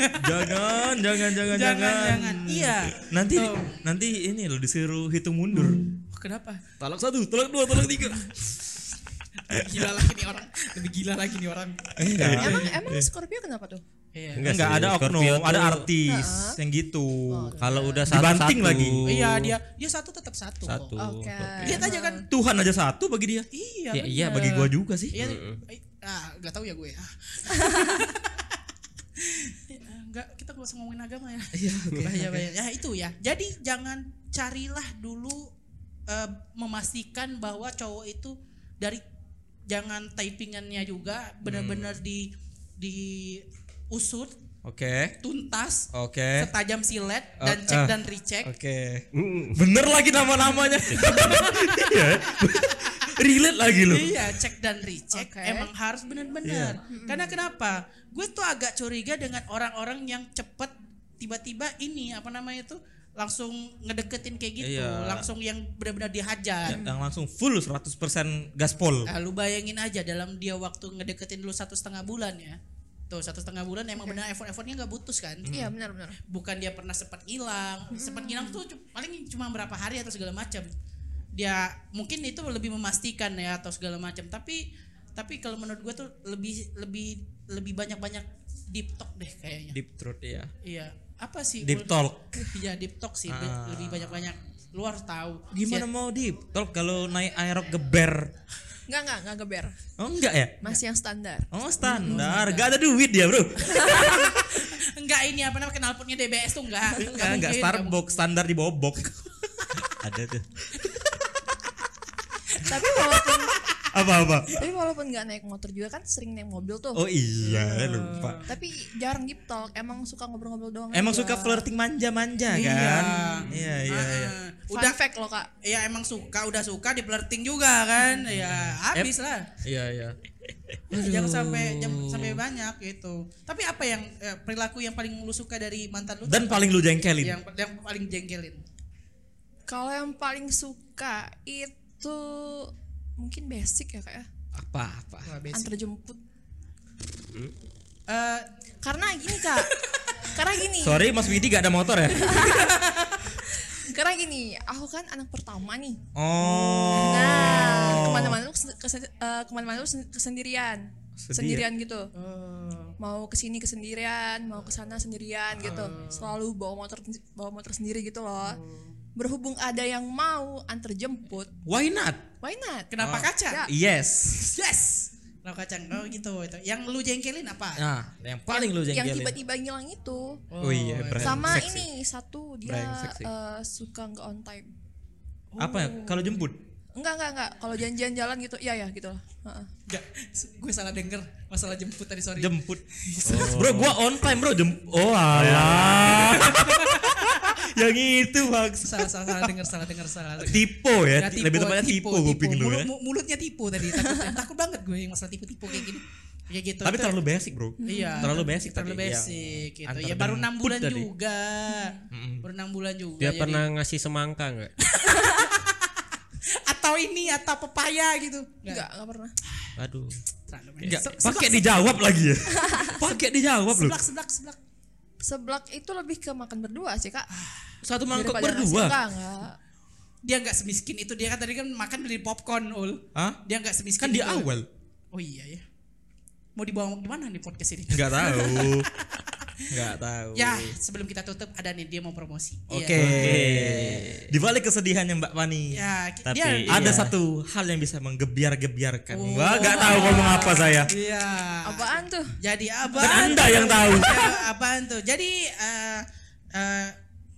S2: jangan, jangan, jangan, Gitu. jangan.
S1: Jangan, jangan. Iya.
S2: Nanti,
S1: Tuh. Hmm.
S2: nanti ini lo disuruh hitung mundur.
S1: Wah, Oh, kenapa?
S2: Talak satu, talak dua, talak tiga.
S1: Lebih gila lagi nih orang. Lebih gila lagi nih orang.
S2: Eh.
S4: Emang emang Scorpio kenapa tuh?
S1: Iya.
S3: Enggak
S2: Enggak
S3: sih,
S2: ada oknum,
S3: Scorpio
S2: ada
S3: tuh-
S2: artis yang gitu.
S1: Oh,
S3: Kalau udah satu
S2: Dibanting lagi.
S1: Iya, dia dia satu tetap satu,
S3: Satu.
S2: Oh,
S1: kok.
S4: Oke. Iya
S1: Lihat aja kan.
S2: Tuhan aja satu bagi dia.
S1: Iya.
S2: Ya, iya
S1: bener.
S2: bagi gua juga sih.
S1: Iya. eh, Ah, enggak tahu ya gue. Ah. enggak, Ya, kita gak usah ngomongin agama ya. Iya, bahaya bahaya. Ya itu ya. Jadi jangan carilah dulu eh, memastikan bahwa cowok itu dari jangan typingannya juga benar-benar di di usut
S2: Oke.
S1: tuntas
S2: Oke.
S1: setajam silet
S2: Oh,
S1: dan cek
S2: ah.
S1: dan recheck
S2: Oke. Bener lagi nama-namanya. Iya. Relate lagi lo.
S1: Iya, cek dan recheck
S4: Oke. Hmm.
S1: emang harus benar-benar. Karena kenapa? Gue tuh agak curiga dengan orang-orang yang cepet tiba-tiba ini apa namanya tuh langsung ngedeketin kayak gitu,
S2: Iya.
S1: langsung yang benar-benar dihajar.
S2: Yang langsung full 100% gaspol.
S1: Nah, lu bayangin aja dalam dia waktu ngedeketin lu satu setengah bulan ya. Tuh satu setengah bulan emang benar effort-effortnya nggak butus kan?
S4: Iya benar benar.
S1: bukan dia pernah sempat hilang sempat hilang tuh cu- paling cuma berapa hari atau segala macam dia mungkin itu lebih memastikan ya atau segala macam tapi tapi kalau menurut gue tuh lebih lebih lebih banyak banyak deep talk deh kayaknya
S2: Deep throat ya.
S1: iya apa sih
S2: Deep talk. Ah.
S1: ya deep talk sih be- lebih banyak banyak lu harus tahu Iya.
S2: Gimana mau deep talk kalau naik aerob geber?
S4: Enggak enggak enggak geber.
S2: Oh enggak ya?
S4: Masih yang standar.
S2: Oh standar, gak ada duit dia bro
S1: Siap- enggak ini apa namanya knalpotnya DBS tuh
S2: Enggak,
S1: enggak
S2: enggak
S1: mungkin, mungkin.
S2: Starbucks, standar di bobok Ada tuh
S4: tapi walaupun
S2: Apa-apa?
S4: tapi walaupun nggak naik motor juga kan sering naik mobil tuh.
S2: Oh iya lupa
S4: Tapi jarang deep talk, emang suka ngobrol-ngobrol doang.
S2: Emang
S4: aja.
S2: suka flirting manja-manja kan? Iya, iya, iya
S1: Ah,
S4: Fun
S1: udah
S4: fact loh kak.
S1: ya emang suka udah suka di flirting juga kan
S2: Hmm.
S1: ya habis lah
S2: Iya, iya
S1: jangan sampai jam- sampai banyak gitu tapi apa yang eh, perilaku yang paling lu suka dari mantan lu
S2: Dan paling lu jengkelin
S1: yang yang paling jengkelin
S4: Kalau yang paling suka itu mungkin basic ya kak ya.
S2: Apa-apa
S4: Antar jemput.
S1: Eh,
S4: Karena gini kak. karena gini.
S2: Sorry Mas Widi gak ada motor ya?
S4: Karena gini. Aku kan anak pertama nih.
S2: Oh
S4: Nah kemana-mana lu kes- kes- eh, kemana-mana lu sen- kesendirian. Sendirian gitu.
S2: Oh.
S1: eh,
S4: Mau kesini kesendirian, mau kesana sendirian gitu.
S2: Oh.
S4: Selalu bawa motor bawa motor sendiri gitu loh. Berhubung ada yang mau antar jemput,
S2: Why not?
S4: why not?
S1: kenapa
S2: Ah.
S1: kacang
S4: Ya.
S2: Yes
S1: yes kenapa kacang oh gitu itu yang lu jengkelin apa
S2: Nah, yang paling lu
S4: yang
S2: jengkelin
S4: tiba-tiba ngilang itu
S2: Oh iya, brengsek
S4: sama
S2: sih.
S4: ini satu dia
S2: Brengsek sih.
S4: eh, suka nggak on time
S2: Apa
S1: Oh.
S2: ya? Kalau jemput?
S4: enggak enggak enggak kalau janjian jalan gitu iya ya gitu lah Heeh.
S1: Nggak, gue salah denger masalah jemput tadi sorry
S2: Jemput.
S1: Oh.
S2: Bro, gua on time, Bro. Jem oh, alah. Yang itu, Max.
S1: salah salah salah denger salah denger salah denger.
S2: Tipu ya.
S1: Ya, tipu,
S2: Lebih tepatnya tipu, kuping lu ya.
S1: Mulut- mu- mulutnya tipu tadi takut, takut banget gue yang masalah tipu-tipu kayak gini kayak gitu
S2: Tapi
S1: Itu-
S2: terlalu basic, Bro.
S1: Iya.
S2: Terlalu basic
S1: Terlalu
S2: tadi, iya.
S1: basic gitu.
S2: Antar
S1: ya baru
S2: jemput
S1: enam bulan
S2: tadi.
S1: juga. Baru enam bulan juga.
S3: Dia
S1: jadi-
S3: pernah ngasih semangka enggak?
S1: atau ini atau pepaya gitu.
S4: enggak enggak pernah
S3: Aduh.
S1: Terlalu
S2: Enggak,
S1: Se-
S2: pakai dijawab lagi ya. pakai dijawab lu.
S1: Seblak seblak seblak.
S4: seblak itu lebih ke makan berdua sih kak
S2: Satu mangkok
S4: Daripada nasi.
S2: berdua.
S4: enggak enggak
S1: Dia nggak semiskin itu. Dia kan tadi kan makan beli popcorn ul.
S2: Hah?
S1: Dia nggak semiskin.
S2: Kan di
S1: itu.
S2: awal.
S1: Oh iya ya. Mau dibawa kemana nih podcast ini?
S2: Enggak tahu. Enggak tahu.
S1: ya sebelum kita tutup ada nih dia mau promosi.
S2: Oke.
S1: Iya.
S2: Di balik kesedihannya Mbak Fani.
S1: Ya, ki-
S3: Tapi-
S1: dia,
S2: Ada
S3: Iya.
S2: satu hal yang bisa menggebiar-gebiarkan.
S1: Oh.
S2: Wah, nggak tahu ngomong apa saya.
S1: Iya.
S4: apaan tuh
S1: Jadi apa?
S2: Dan Anda yang tahu.
S1: Ya, apaan tuh? Jadi eh, eh,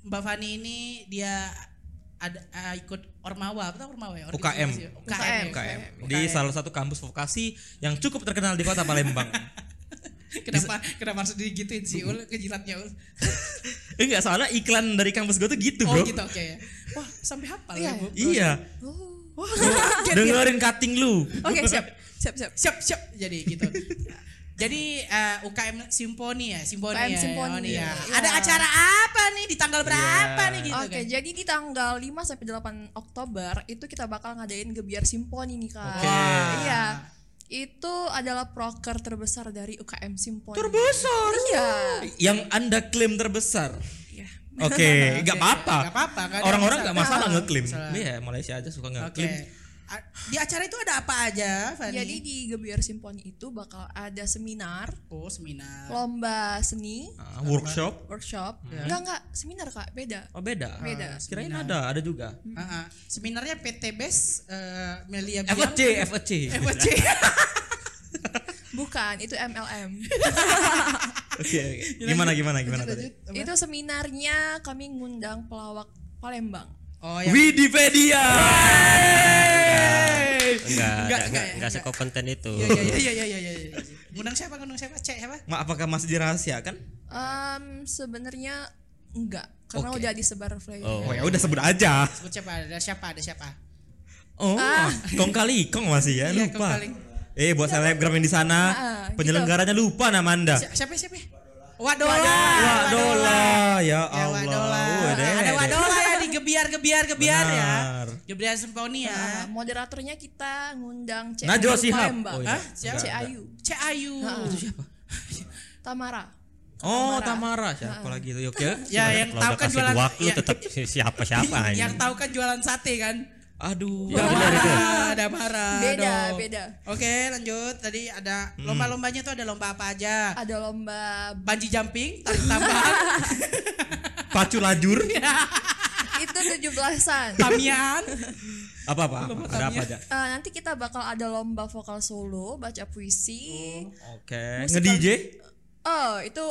S1: Mbak Fani ini dia ada eh, ikut Ormawa, apa tuh Ormawa ya?
S2: UKM.
S1: Organisasi- UKM.
S4: UKM.
S2: di salah satu kampus vokasi yang cukup terkenal di kota Palembang.
S1: Kenapa kenapa harus digituin sih ul kejilatnya ul?
S2: Enggak salah iklan dari kampus gue tuh gitu,
S1: Oh
S2: Bro.
S1: gitu oke ya. Wah, sampai hafal
S4: Iya,
S1: ya, Bu.
S2: Iya,
S4: Oh.
S1: Wah, kaget ya.
S2: dengerin cutting lu.
S4: oke siap siap siap
S1: siap siap jadi gitu jadi eh, UKM Simponi ya Simponi
S4: UKM
S1: ya,
S4: Simponi.
S1: oh, nih ya.
S4: Iya.
S1: ada acara apa nih di tanggal berapa nih gitu
S4: Oke, jadi di tanggal 5 sampai 8 Oktober itu kita bakal ngadain gebiar simponi nih, Kak.
S2: Oke.
S4: Iya. itu adalah proker terbesar dari UKM Simponi.
S2: Terbesar.
S4: Iya.
S2: Yang Anda klaim terbesar.
S4: Iya.
S2: Oke, Eh, nggak apa-apa.
S1: Nggak apa-apa, nggak ada
S2: Orang-orang
S1: masalah.
S2: nggak masalah
S1: Nggak
S2: ngeklaim.
S1: masalah.
S2: Iya, Malaysia aja suka nggak
S1: Oke.
S2: klaim.
S1: A- Di acara itu ada apa aja, Fani?
S4: Jadi di Gebiar Simponi itu bakal ada seminar,
S1: oh seminar.
S4: lomba seni,
S2: Ah, workshop.
S4: workshop. Enggak enggak, seminar Kak, beda.
S2: Oh beda. Ah,
S4: Beda.
S2: Kirain ada, ada juga.
S1: Ah, ah. Seminarnya PT Bes eh, Melia Biang.
S2: FOC, FOC.
S1: FOC.
S4: Bukan, itu MLM.
S2: Oke, oke. Gimana gimana gimana tadi?
S1: Lanjut, lanjut.
S4: itu seminarnya kami ngundang pelawak Palembang.
S1: Oh ya.
S2: Wikipedia.
S3: Enggak,
S1: Enggak,
S3: enggak,
S1: enggak,
S3: enggak, enggak sekompeten itu.
S1: Iya iya iya iya iya iya. iya. Ngundang siapa? Ngundang siapa? Cek siapa?
S2: Ma, apakah masih dirahasiakan?
S4: Em, sebenarnya enggak, karena
S2: Oke.
S4: udah disebar flyer.
S2: Oh
S3: Oh.
S2: ya udah sebut aja.
S1: Sebut siapa? Ada siapa? Ada siapa?
S2: Oh, kong kali kong masih ya
S1: Ah. Iya,
S2: lupa.
S1: Kong Kali.
S2: Eh buat selebgram yang di sana,
S4: Ah, gitu.
S2: penyelenggaranya lupa nama anda.
S1: Si- Siapa siapa? Wadola.
S2: Wadola, ya
S1: Ya
S2: Allah.
S1: Wadola.
S2: Oh, deh.
S1: Ada Wadola ya di gebiar-gebiar gebiar ya.
S2: Benar.
S1: Gebiar Semponi
S4: Ah,
S1: ya.
S4: moderatornya kita ngundang Cek
S2: Najwa
S4: Ayu
S2: Shihab.
S4: Palembang.
S2: Oh, iya.
S1: Hah?
S4: Hah?
S1: Siapa?
S4: Cek Ayu,
S1: Cek Ayu.
S2: Siapa?
S4: Tamara.
S2: Oh,
S4: Tamara.
S2: Tamara. Siapa lagi itu? Oke.
S1: Ah, Ya yang
S3: Kalau
S1: tahu
S3: udah
S1: kan
S3: kasih
S1: jualan
S3: waktu
S1: ya,
S3: tetap si- siapa-siapa aja.
S1: yang tahu kan jualan sate kan.
S2: Aduh.
S3: Ya, benar itu.
S1: Ah, ada marah. dong.
S4: Beda, beda.
S1: Oke, lanjut. Tadi ada
S2: Hmm.
S1: lomba-lombanya tuh ada lomba apa aja?
S4: Ada lomba
S1: Banji jumping, tarik tambang,
S2: Pacu lajur.
S1: Ya.
S4: itu 17-an.
S1: tamian.
S2: apa apa? apa? Ada apa aja?
S4: Eh, nanti kita bakal ada lomba vokal solo, baca puisi.
S2: Oke. Nge
S4: Musikal-
S2: DJ.
S4: Oh, itu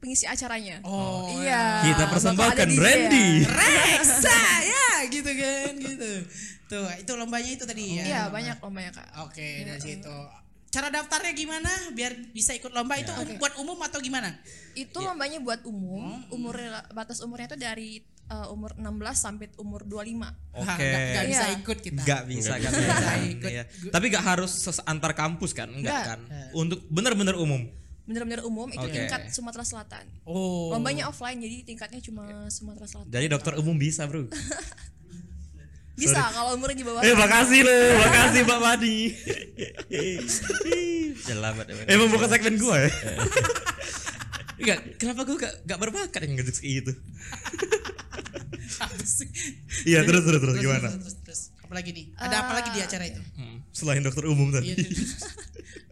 S4: pengisi acaranya.
S1: Oh,
S4: iya.
S2: Kita
S4: bakal
S2: persembahkan
S4: ada DJ.
S2: Randy.
S1: Reksa ya gitu kan gitu. Tuh, itu lombanya itu tadi ya.
S4: Iya, banyak Iya. lombanya, Kak.
S1: Oke, dari situ. Cara daftarnya gimana biar bisa ikut lomba itu
S4: Iya.
S1: um- buat umum atau gimana?
S4: Itu lombanya buat umum. Umur batas umurnya itu dari eh, umur 16 sampai umur 25.
S1: Hah,
S2: Oke.
S1: nggak- nggak bisa
S4: Iya.
S1: ikut kita.
S2: Nggak bisa, nggak
S1: bisa.
S2: bisa.
S1: Ikut.
S2: Iya. Tapi nggak harus ses- antar kampus kan? Nggak
S4: Nggak.
S2: kan? Untuk benar-benar umum.
S4: Bener-bener umum itu
S2: Oke.
S4: tingkat Sumatera Selatan.
S1: Oh.
S4: Lombanya offline jadi tingkatnya cuma Sumatera Selatan.
S2: Jadi dokter umum bisa bro.
S4: Bisa kalau umurnya di bawah kan?
S2: eh makasih lo, makasih Pak Madi.
S3: Selamat.
S2: Eh membuka segmen gua ya. Enggak, kenapa gua gak, gak berbakat yang ngejudge kayak gitu?
S1: Apa sih?
S2: Iya terus terus terus gimana?
S1: Terus, terus. Apalagi nih? Ada apa lagi
S4: Ah.
S1: di acara itu?
S2: Hmm, Selain dokter umum
S1: Iya,
S2: tadi.
S1: terus.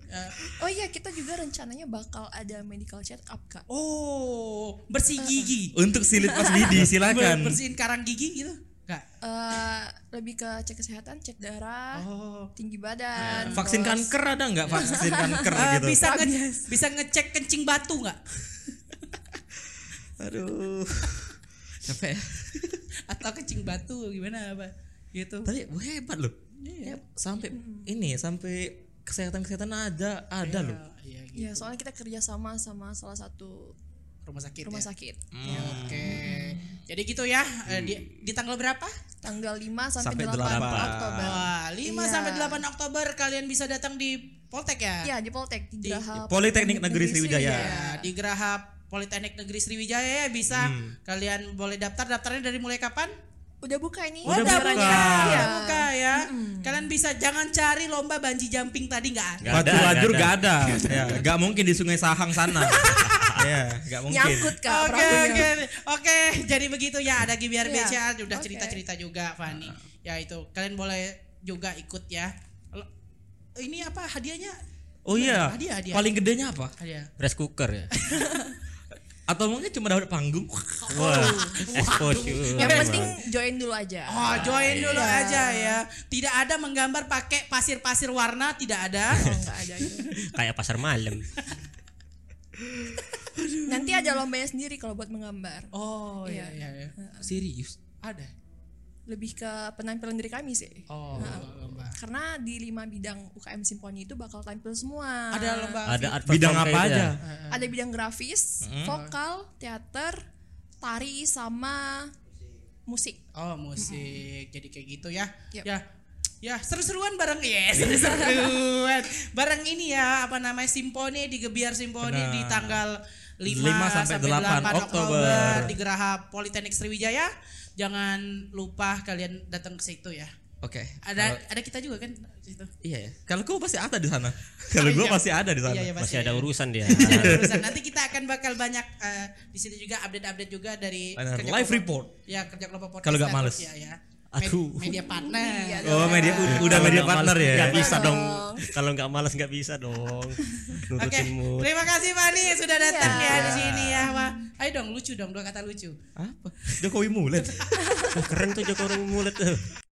S1: Eh,
S4: Oh iya, kita juga rencananya bakal ada medical check up, Kak.
S1: Oh,
S4: Eh,
S1: bersih gigi.
S2: Untuk silit Mas Didi
S1: Ber-
S2: eh. silakan.
S1: Bersihin karang gigi gitu. Enggak.
S4: Eh, lebih ke cek kesehatan, cek darah,
S1: Oh.
S4: tinggi badan.
S2: Vaksin kan
S4: bolos.
S2: kanker ada nggak vaksin kanker
S1: Eh,
S2: gitu?
S1: bisa nge- bisa ngecek kencing batu nggak?
S2: Aduh. Capek ya.
S1: Atau kencing batu gimana apa? Gitu.
S2: Tadi wah, hebat loh. Iya. Sampai ini sampai kesehatan-kesehatan ada ada loh.
S1: Iya, gitu.
S4: Ya, soalnya kita kerja sama sama salah satu
S1: Rumah sakit.
S4: rumah
S1: ya?
S4: sakit. Hmm.
S1: Ya, Oke. Jadi gitu ya. Eh, Di, di tanggal berapa?
S4: Tanggal 5 sampai,
S2: Sampai
S4: 8,
S2: delapan.
S4: Oktober.
S1: Wah, 5
S4: Iya.
S1: sampai 8 Oktober kalian bisa datang di Poltek ya?
S4: Iya, di Poltek
S1: Di
S4: di Graha
S2: Politeknik Negeri Sriwijaya.
S1: Nah, di Geraha Politeknik Negeri Sriwijaya ya bisa. Kalian boleh daftar. Daftarnya dari mulai kapan?
S4: Udah buka ini.
S2: Udah
S1: udah
S2: buka.
S1: buka,
S4: Iya.
S1: udah buka ya.
S4: Hmm.
S1: Kalian bisa jangan cari lomba banji jumping tadi nggak ada.
S3: Nggak
S2: Iya. Batu
S3: ada,
S2: lajur
S3: nggak
S2: gak ada. Ya, gak mungkin di Sungai Sahang sana. ya, gak mungkin.
S4: Nyangkut Kak
S1: Oke
S4: perahunya.
S1: oke oke. Jadi begitu ya ada GBR
S4: Iya.
S1: BCA udah
S4: Oke.
S1: cerita cerita juga Fani. Ya itu kalian boleh juga ikut ya. Lo- Ini apa hadiahnya?
S2: Oh iya.
S1: Hadiah, hadiah.
S2: Paling gedenya apa?
S1: Hadiah.
S3: Rice cooker ya.
S2: Atau mungkin cuma dapat panggung.
S3: Wah, exposure.
S4: Yang
S3: Emang.
S4: penting join dulu aja.
S1: Oh join dulu aja ya. Tidak ada menggambar pakai pasir-pasir warna tidak ada.
S4: Kalau nggak ada itu.
S3: kayak pasar malam.
S4: Nanti ada lombanya sendiri kalau buat menggambar.
S1: Oh iya iya.
S4: Iya.
S1: iya.
S2: Serius.
S1: Ada.
S4: Lebih ke penampilan dari kami sih.
S1: Oh lomba.
S4: Karena di lima bidang UKM Simponi itu bakal tampil semua.
S1: Ada lomba.
S3: Ada art
S2: Bidang
S3: perform
S2: apa
S3: kayak itu
S2: aja?
S3: ya.
S4: Ada bidang grafis, vokal, teater, tari sama musik.
S1: Oh musik, jadi kayak gitu ya.
S4: Yap.
S1: Ya, ya seru-seruan bareng ya, seru-seruan bareng ini ya apa namanya simponi di Gebiar Simponi
S2: Benar.
S1: di tanggal 5,
S2: 5 sampai 8 Oktober.
S1: di Geraha Politeknik Sriwijaya. Jangan lupa kalian datang ke situ ya.
S2: Oke. Kalau-
S1: Ada ada kita juga kan di situ.
S2: iya ya. Kalau kau pasti ada di sana. Kalau
S1: Oh,
S2: gua
S1: iya.
S2: pasti ada di sana.
S1: Iya, iya, pasti.
S3: Masih ada urusan dia.
S1: Ada urusan. Nanti kita akan bakal banyak eh, di situ juga update-update juga dari
S2: Benar,
S1: kerja
S2: live
S1: kelompok-
S2: report.
S1: Ya kerja kelompok podcast.
S2: Kalau nggak
S1: status,
S2: males.
S1: Ya, ya.
S2: Aduh.
S1: Med- media partner.
S4: Iya,
S2: Oh, media ud- udah media partner ya.
S3: Gak bisa dong.
S4: Dong.
S3: Kalau nggak malas nggak bisa dong.
S1: Oke,
S3: Nurutin mood.
S1: terima kasih Fani sudah datang
S4: Iya.
S1: ya di sini ya. Wah, ayo dong lucu dong dua kata lucu.
S2: Apa? Jokowi mulet.
S3: Wah, keren tuh Jokowi mulut tuh.